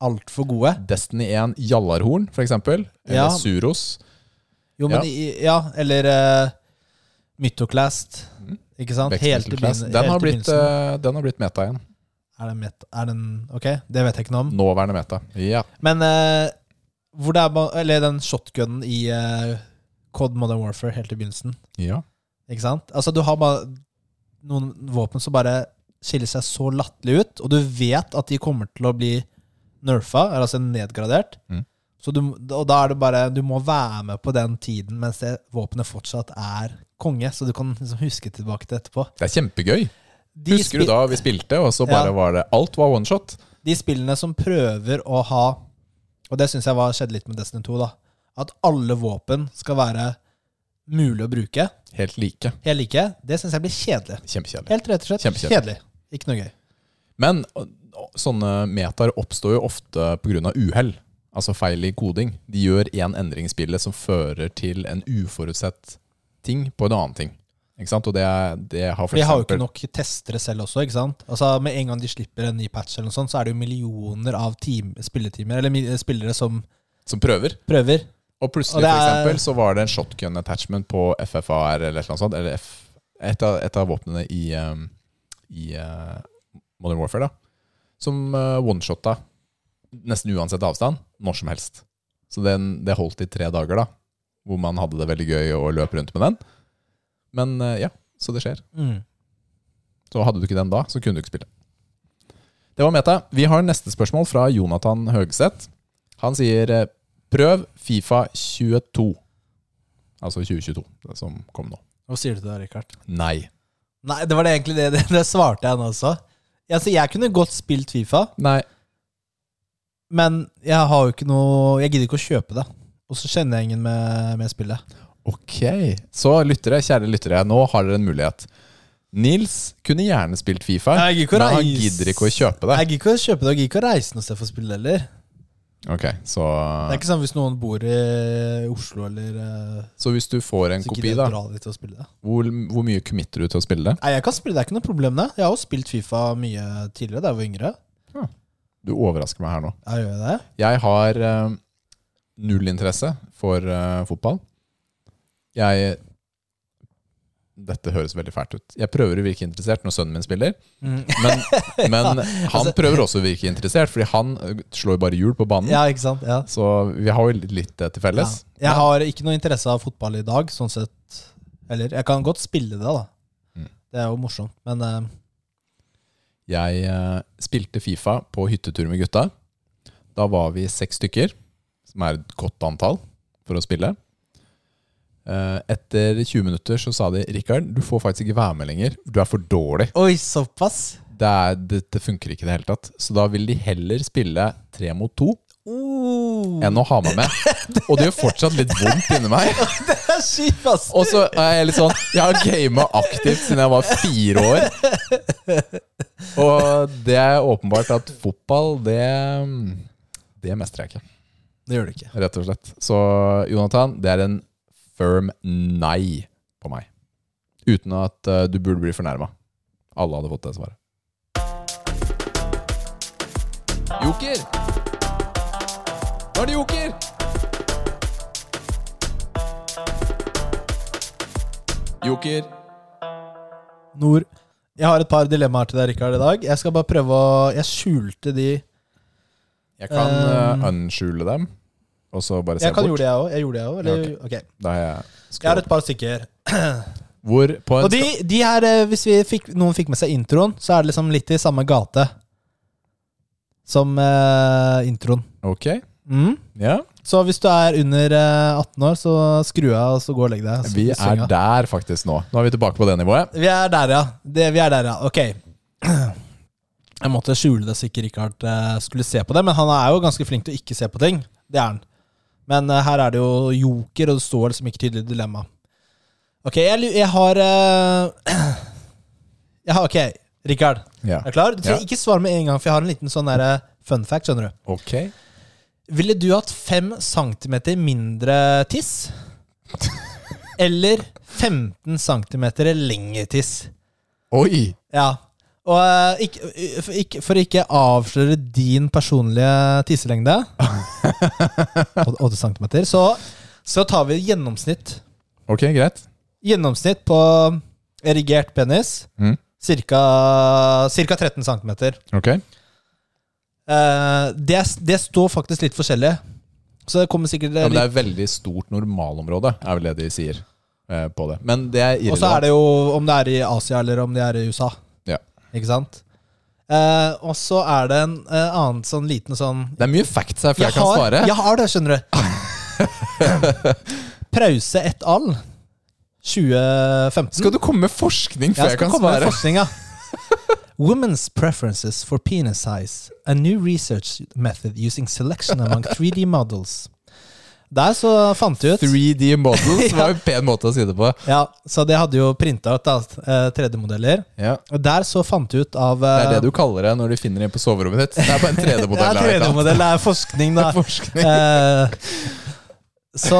altfor gode. Destiny 1 Jallarhorn, for eksempel. Eller Ja. Suros. Jo, men Ja. i- ja, eller eh, Mytoclast. Ikke sant? Helt i Vekstmiddelklass. begyn- Mm. Den, helt har i blitt, begynnelsen. eh, den har blitt meta igjen. Er den, met- er den Ok, det vet jeg ikke noe om. Nåværende meta. Ja. Men eh, hvor det er ba- Eller den shotgunen i eh, Cod Modern Warfare helt i begynnelsen. ja. Ikke sant? Altså, du har bare noen våpen som bare skiller seg så latterlig ut, og du vet at de kommer til å bli nerfa, eller altså nedgradert. Mm. Så du, og da er det bare Du må være med på den tiden mens det våpenet fortsatt er konge, så du kan liksom huske tilbake til etterpå. Det er kjempegøy. De Husker du da vi spilte, og så bare Ja. var det Alt var one shot. de spillene som prøver å ha Og det syns jeg var, skjedde litt med Destiny 2, da. At alle våpen skal være mulig å bruke, Helt like. helt like, det syns jeg blir kjedelig. Kjempekjedelig. Helt rett og slett Kjempekjedelig. kjedelig. Ikke noe gøy. Men å, å, sånne metaer oppstår jo ofte pga. uhell. Altså feil i koding. De gjør én endring i spillet som fører til en uforutsett ting på en annen ting. Ikke sant? Og det, er- det har for For de har jo ikke eksempel nok testere selv også, ikke sant? Altså Med en gang de slipper en ny patch, eller noe sånt, så er det jo millioner av team, spilletimer, eller mi- spillere som Som prøver. prøver. Og Og plutselig det for er- eksempel, så var det en shotgun attachment på FFAR eller et eller annet sånt. Eller F, et, av, et av våpnene i, um, i uh, Modern Warfare, da. Som uh, oneshotta nesten uansett avstand, når som helst. Så den, det holdt i tre dager, da. Hvor man hadde det veldig gøy og løp rundt med den. Men uh, ja, så det skjer. Mm. Så hadde du ikke den da, så kunne du ikke spille. Det var meta. Vi har neste spørsmål fra Jonathan Høgseth. Han sier eh, prøv Fifa 22. Altså 2022, det som kom nå. Hva sier du til det, Rikard? Nei. Nei, det var det egentlig det, det, det svarte jeg nå også. Altså, jeg kunne godt spilt Fifa, Nei. men jeg har jo ikke noe Jeg gidder ikke å kjøpe det. Og så kjenner jeg ingen med, med spillet. Ok. Så lyttere, kjære lyttere, nå har dere en mulighet. Nils kunne gjerne spilt Fifa, Jeg gidder ikke å men han reise. gidder ikke å kjøpe det. Jeg gidder ikke å kjøpe det, og jeg gidder ikke å reise noe sted for å spille det heller. Ok, så, Det er ikke sånn hvis noen bor i Oslo eller eh, så hvis du får en Så kopi, gidder jeg da, dra dit og spille det. hvor, hvor mye committer du til å spille det? Nei, jeg kan spille, det er ikke noe problem det. Jeg har jo spilt Fifa mye tidligere da jeg var yngre. Du overrasker meg her nå. Jeg gjør det. Jeg har eh, null interesse for eh, fotball. Jeg Dette høres veldig fælt ut. Jeg prøver å virke interessert når sønnen min spiller, Mm. men, men Altså, han prøver også å virke interessert, fordi han eh, slår bare hjul på banen. Ja, ikke sant? Ja. Så vi har jo litt det til Ja. felles. Jeg har ikke noe interesse av fotball i dag, sånn sett. Eller jeg kan godt spille det, da. Mm. Det er jo morsomt, men eh, Jeg eh, spilte Fifa på hyttetur med gutta. Da var vi seks stykker, som er et godt antall for å spille. Eh, Etter 20 minutter så sa de Rikard, du får faktisk ikke være med lenger. Du er for dårlig. Oi, såpass! Det, er, det, det funker ikke i det hele tatt. Så da vil de heller spille tre mot to Oh, enn å ha meg med. Og det gjør fortsatt litt vondt inni meg. det er kjipt, ass! Og så er jeg litt sånn Jeg har gama aktivt siden jeg var fire år. Og det er åpenbart at fotball, det Det mestrer jeg ikke, Det gjør det ikke. rett og slett. Så Jonathan, det er en firm nei på meg. Uten at eh, du burde bli fornærma. Alle hadde fått det svaret. Joker! Nå er det joker! Joker. Nord. Jeg har et par dilemmaer til deg, Rikard, i dag. Jeg skal bare prøve å Jeg skjulte de Jeg kan Um, eh, unskjule dem, og så bare se Jeg kan bort. gjorde det, jeg òg. Jeg gjorde det, jeg også, eller? ok. Da har jeg Jeg har skrevet. et par stykker. Hvor på en Og de, de her, eh, hvis vi fikk, noen fikk med seg introen, så er det liksom litt i samme gate som eh, introen. ska- Ok, Mm. ja. Så hvis du er under eh, 18 år, så skru av og så gå og legg deg. Så- Vi i er senga. der faktisk nå. Nå er vi tilbake på det nivået. Vi er der, ja. Det, vi er der, ja. Ok. Jeg måtte skjule det så ikke Richard eh, skulle se på det, men han er jo ganske flink til å ikke se på ting. Det er han. Men eh, her er det jo joker, og det står liksom ikke tydelig dilemma. Ok, jeg, lu- jeg har eh, Jeg har, Ok, Richard. Ja. Er du klar? Du trenger ikke svare med en gang, for jeg har en liten sånn der, eh, fun fact. skjønner du Ok. Ville du hatt fem centimeter mindre tiss? Eller 15 centimeter lengre tiss? Oi! Ja. Og eh, ikke, for, ikke, for ikke avsløre din personlige tisselengde, 8 cm, så, så tar vi gjennomsnitt. Ok, greit. Gjennomsnitt på erigert penis, Mm. cirka, cirka 13 cm. Ok. Eh, det, det står faktisk litt forskjellig, så det kommer sikkert Ja, men det litt er veldig stort normalområde, er vel det de sier eh, på det. Men det er Og så er irrelevant. det jo om det er i Asia eller om det er i USA. Ja. Ikke sant? Eh, og så er det en eh, annen sånn liten sånn Det er mye facts her før jeg, kan har, svare. Jeg har det, skjønner du. Prause et al. 2015. Skal du komme med forskning før Jeg jeg skal kan komme med svare? forskninga. Women's preferences for penis size. A new research method using selection among 3D models. Der så fant vi ut 3D models var jo en pen måte å si det på. Ja, Så det hadde jo printa ut da, eh, 3D-modeller. Ja. Og der så fant vi ut av eh, Det er det du kaller det når du finner en på soverommet ditt. Det er bare en 3D-modell. her, ikke sant? 3D-modell, det er forskning, da. Forskning. Eh, så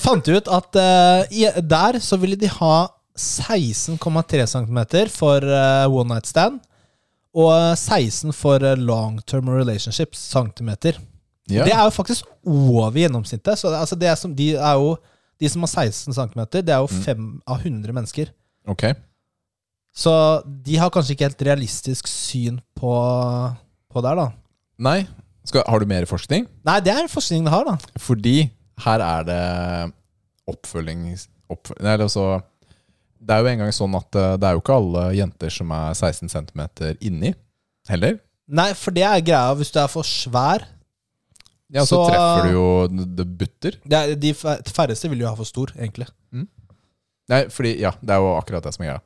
fant vi ut at eh, i- der så ville de ha 16,3 cm for eh, one night stand. Og 16 for eh, long term relationships, centimeter. Ja. Det er jo faktisk over gjennomsnittet. Så det, altså det er som, de, er jo, de som har 16 cm, det er jo Mm. 5 av 100 mennesker. Ok. Så de har kanskje ikke helt realistisk syn på, på der, da. Nei. Skal, har du mer forskning? Nei, det er forskningen de har, da. Fordi her er det oppfølging oppføl Nei, eller altså Det er jo engang sånn at eh, det er jo ikke alle jenter som er 16 cm inni heller. Nei, for det er greia hvis du er for svær. Ja, så, Så- treffer du jo Det butter. Det er, de fær- færreste vil jo ha for stor, egentlig. Nei, fordi Ja, det er jo akkurat det som er greia.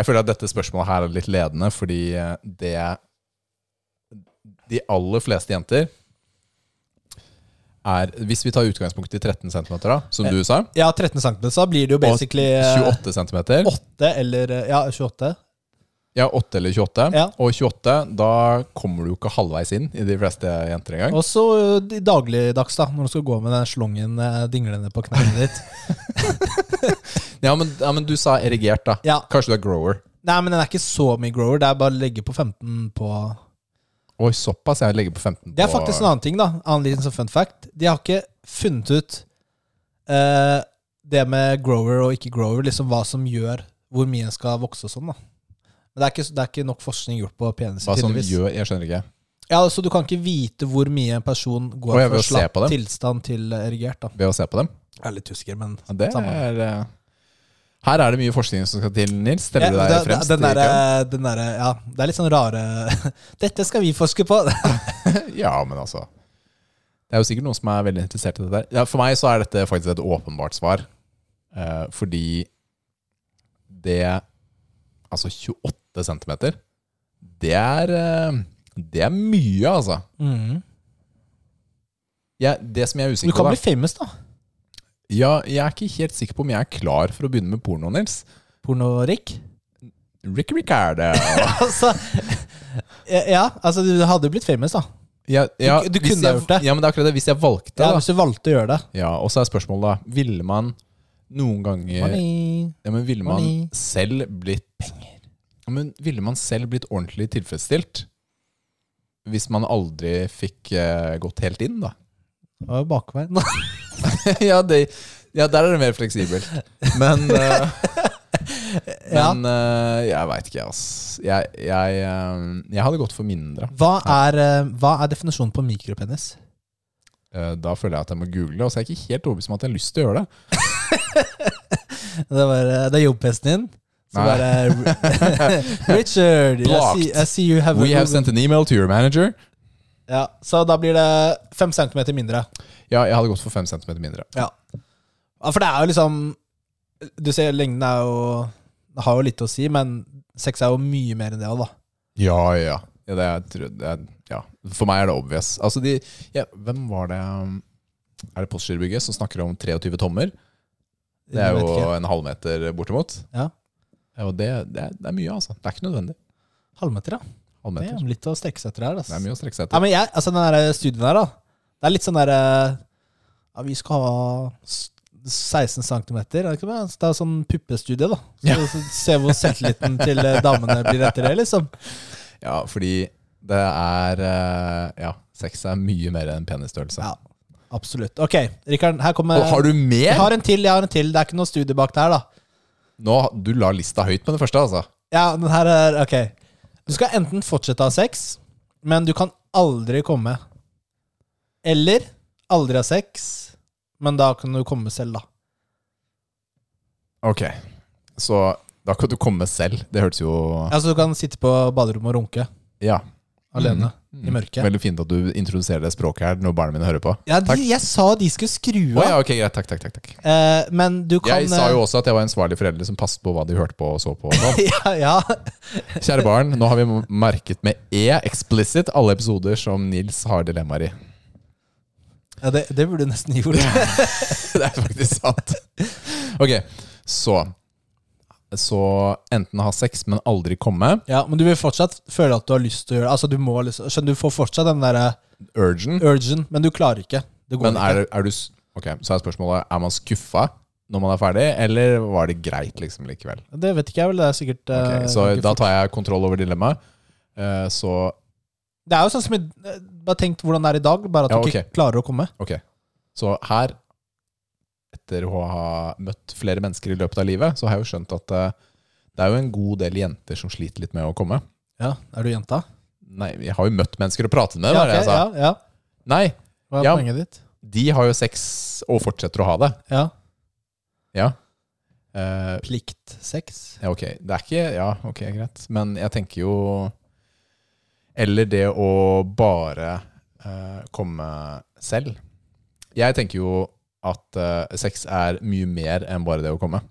Jeg føler at dette spørsmålet her er litt ledende, fordi eh, det De aller fleste jenter er Hvis vi tar utgangspunkt i 13 cm, da, som du sa, Ja, 13 cm, så da blir det jo Og basically eh, 28 cm 8 eller eh, Ja, 28. Ja, 8 eller 28. Ja. Og 28, da kommer du jo ikke halvveis inn i de fleste jenter engang. Og så eh, de dagligdags, da, når du skal gå med den slongen eh, dinglende på kneet ditt. Ja, men, ja, men du sa erigert, da. Ja. Kanskje du er grower. Nei, men den er ikke så mye grower. Det er bare å legge på 15 på Oi, såpass. Jeg legger på 15 Det er faktisk en annen ting, da. Annen liten sånn fun fact. De har ikke funnet ut eh, det med grower og ikke grower, liksom hva som gjør hvor mye en skal vokse og sånn, da. Men det er ikke, det er ikke nok forskning gjort på peniser, Hva som tydeligvis. gjør Jeg skjønner ikke. Ja, altså Du kan ikke vite hvor mye en person går Å, jeg fra vil jo se på slapp dem. tilstand til erigert. da. Ved å se på dem. Jeg er litt husker, men Ja, det Samme. er eh, Her er det mye forskning som skal til, Nils. Steller Ja, du deg det- fremst? Den i køen? derre den derre- Ja, det er litt sånn rare Dette skal vi forske på! ja, men altså Det er jo sikkert noen som er veldig interessert i dette. her. Ja, for meg så er dette faktisk et åpenbart svar. Eh, fordi det Altså 28 cm, det er eh, Det er mye, altså. Mhm. Jeg, det som jeg er Du usikker kan på bli da, famous, da. ja, Jeg er ikke helt sikker på om jeg er klar for å begynne med porno, Nils. Pornorik. Rick Ricardo. altså, ja, altså du hadde jo blitt famous, da. Jeg, ja, Du- du hvis kunne jeg, gjort det. Ja, men det er akkurat det. Hvis jeg valgte, Ja, da. Hvis du valgte å gjøre det. Ja, og så er spørsmålet da Ville man noen ganger Money. ja, men Ville man Money. selv blitt Ja, men ville man selv blitt ordentlig tilfredsstilt hvis man aldri fikk eh, gått helt inn, da? Det var jo bakveien. ja, det, ja, der er det mer fleksibelt. Men eh, Ja. Men eh, jeg veit ikke, ass. Jeg, jeg, eh, jeg hadde gått for mindre. Hva er, eh, hva er definisjonen på mikropenis? Eh, da føler jeg at jeg må google, og så er jeg ikke helt overbevist om at jeg har lyst til å gjøre det. Det, var, eh, det er jobbfesten din. Så Nei. bare Richard, I see, I see you have a We have woman." sent an email to your manager. ja, Så da blir det fem centimeter mindre. Ja, jeg hadde gått for fem centimeter mindre. Ja. ja, for det er jo liksom Du ser lengden er jo det har jo litt å si, men sex er jo mye mer enn det òg, da. Ja, ja. ja, det jeg tror- det er- ja. For meg er det obvious. Altså de, ja, hvem var det um, Er det Postgirobygget som snakker om 23 tommer? Det er Jeg vet jo ikke. en halvmeter bortimot. Ja. Ja, og det, det, er, det er mye, altså. Det er ikke nødvendig. Halvmeter, ja. Det Halvmeter. er litt å strekke seg etter her. Det er mye å strekke seg Ja, etter. men jeg, altså den der studien her, da. Det er litt sånn derre Ja, vi skal ha s- 16 cm. Det er jo sånn puppestudie, da. Så, Ja. så se hvor selvtilliten til eh, damene blir etter det, liksom. Ja, fordi det er eh, Ja, sex er mye mer enn penisstørrelse. Ja, absolutt. Ok, Rikard, her kommer Og har du mer? Jeg har en til, jeg har en til. Det er ikke noe studie bak det her, da. Nå, du la lista høyt på det første, altså. Ja, den her er Ok. Du skal enten fortsette å ha sex, men du kan aldri komme. Eller aldri ha sex, men da kan du komme selv, da. Ok. Så da kan du komme selv. Det hørtes jo Altså, du kan sitte på baderommet og runke Ja. alene. Mhm. i mørket. Veldig fint at du introduserer det språket her når barna mine hører på. Ja, de, Takk. jeg sa de skulle skru Å av, ja, ok, greit. Takk, takk, takk. takk. eh, men du kan Jeg sa jo også at jeg var en svarlig forelder som passet på hva de hørte på og så på. eh, ja, ja, Kjære barn, nå har vi merket med E explicit alle episoder som Nils har dilemmaer i. ja det, det burde du nesten gjort. Det er faktisk sant. Ok, så Så enten ha sex, men aldri komme. Ja, Men du vil fortsatt føle at du har lyst til å gjøre det. Altså, du må liksom, skjønner, du får fortsatt den derre Urgen. urgen, men du klarer ikke. Det går Men ikke. er, er du s- Ok, så er spørsmålet Er man skuffa når man er ferdig, eller var det greit liksom likevel? Det vet ikke jeg vel, det er sikkert eh, Ok, så ikke da fort. tar jeg kontroll over dilemmaet. Eh, Så Det er jo sånn som i, eh, Bare tenk hvordan det er i dag, bare at Ja, du ok. ikke klarer å komme. Ok. Så her, etter å ha møtt flere mennesker i løpet av livet, så har jeg jo skjønt at eh, det er jo en god del jenter som sliter litt med å komme. Ja, Er du jenta? Nei, jeg har jo møtt mennesker og pratet med, ja, var det jeg sa. ja, ja. Nei, Hva er Ja. poenget ditt? de har jo sex og fortsetter å ha det. Ja. Ja. Eh, Pliktsex. ja, ok. Det er ikke Ja, ok, greit. Men jeg tenker jo Eller det å bare eh, komme selv. Jeg tenker jo at eh, sex er mye mer enn bare det å komme.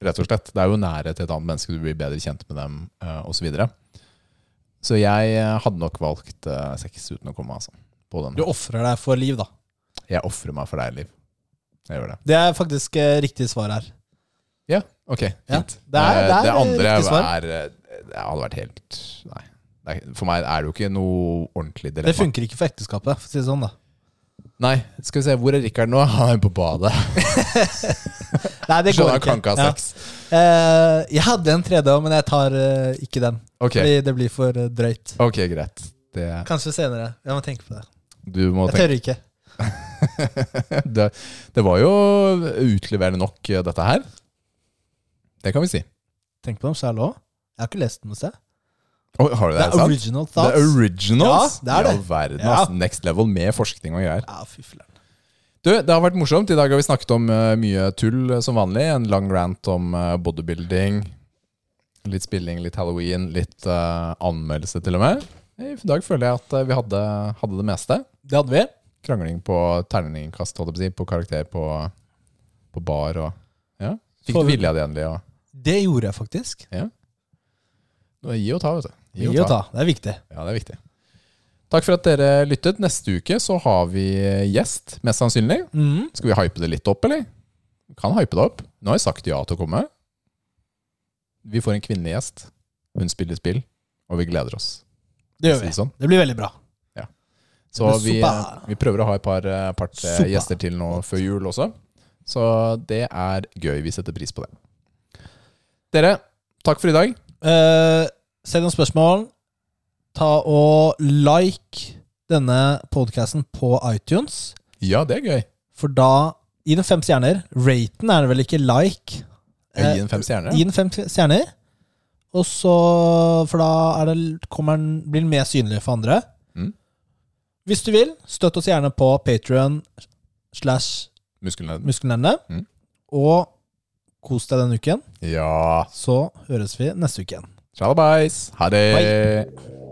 Rett og slett. Det er jo nærhet til et annet menneske, du blir bedre kjent med dem eh, osv. Så, videre. så jeg eh, hadde nok valgt eh, sex uten å komme, altså. På den. Du ofrer deg for liv, da. Jeg ofrer meg for deg, Liv. Jeg gjør det. Det er faktisk eh, riktig svar her. Ja, ok. Ja, Fint. det er- Eh, det er det andre riktig svar. er eh, Det hadde vært helt Nei. Det er- For meg er det jo ikke noe ordentlig dilemma. Det funker ikke for ekteskapet, for å si det sånn. da Nei, skal vi se. Hvor er Rikard nå? Han er på badet. Nei, det Skjønner går han kan ikke. ikke ha sex. Ja. Eh, jeg hadde en tredje òg, men jeg tar eh, ikke den. Ok, Fordi det blir for eh, drøyt. ok, greit. Det, Kanskje senere. Jeg må tenke på det. du må Jeg tenke tør ikke. det, det var jo utleverende nok, eh, dette her. Det kan vi si. Tenk på dem sjæl òg. Jeg har ikke lest den hos deg. Oi, har du Det det? er sant? original The thoughts. originals? Ja, det er I det. all verden, Ja. altså. Next level med forskning og greier. Ja, fy flern. Du, Det har vært morsomt. I dag har vi snakket om eh, mye tull eh, som vanlig. En lang rant om eh, bodybuilding. Litt spilling, litt halloween, litt eh, anmeldelse til og med. I dag føler jeg at eh, vi hadde, hadde det meste. Det hadde vi. Krangling på terningkast, holdt jeg på å si, på karakter på, på bar og Ja. Fikk Får du vi- vilja di endelig? Og, Det gjorde jeg faktisk. Nå, gi og ta, vet du. Gi og ta. Det er viktig. Ja, det er viktig. Takk for at dere lyttet. Neste uke så har vi eh, gjest, mest sannsynlig. Mhm. Skal vi hype det litt opp, eller? Vi Kan hype det opp. Nå har jeg sagt ja til å komme. Vi får en kvinnelig gjest. Hun spiller spill, og vi gleder oss. Det gjør Si vi. det Sånn. Det blir veldig bra. Så Det vi, blir super. vi prøver å ha et par, eh, par eh, Super. gjester til nå før jul også. Så det er gøy. Vi setter pris på det. Dere, takk for i dag. Eh, Send noen spørsmål. Ta og like denne podkasten på iTunes. Ja, det er gøy. For da Gi den fem stjerner. Raten er det vel ikke like? Gi en fem stjerner. Eh, Gi den fem stjerner. Og så For da er det, kommer den, blir den mer synlig for andre. Mm. Hvis du vil, støtt oss gjerne på Patrion slash Musklene. Muskelnerdene. Mm. Og kos deg denne uken. Ja. Så høres vi neste uke igjen. Tjalabais. Ha det. Bye.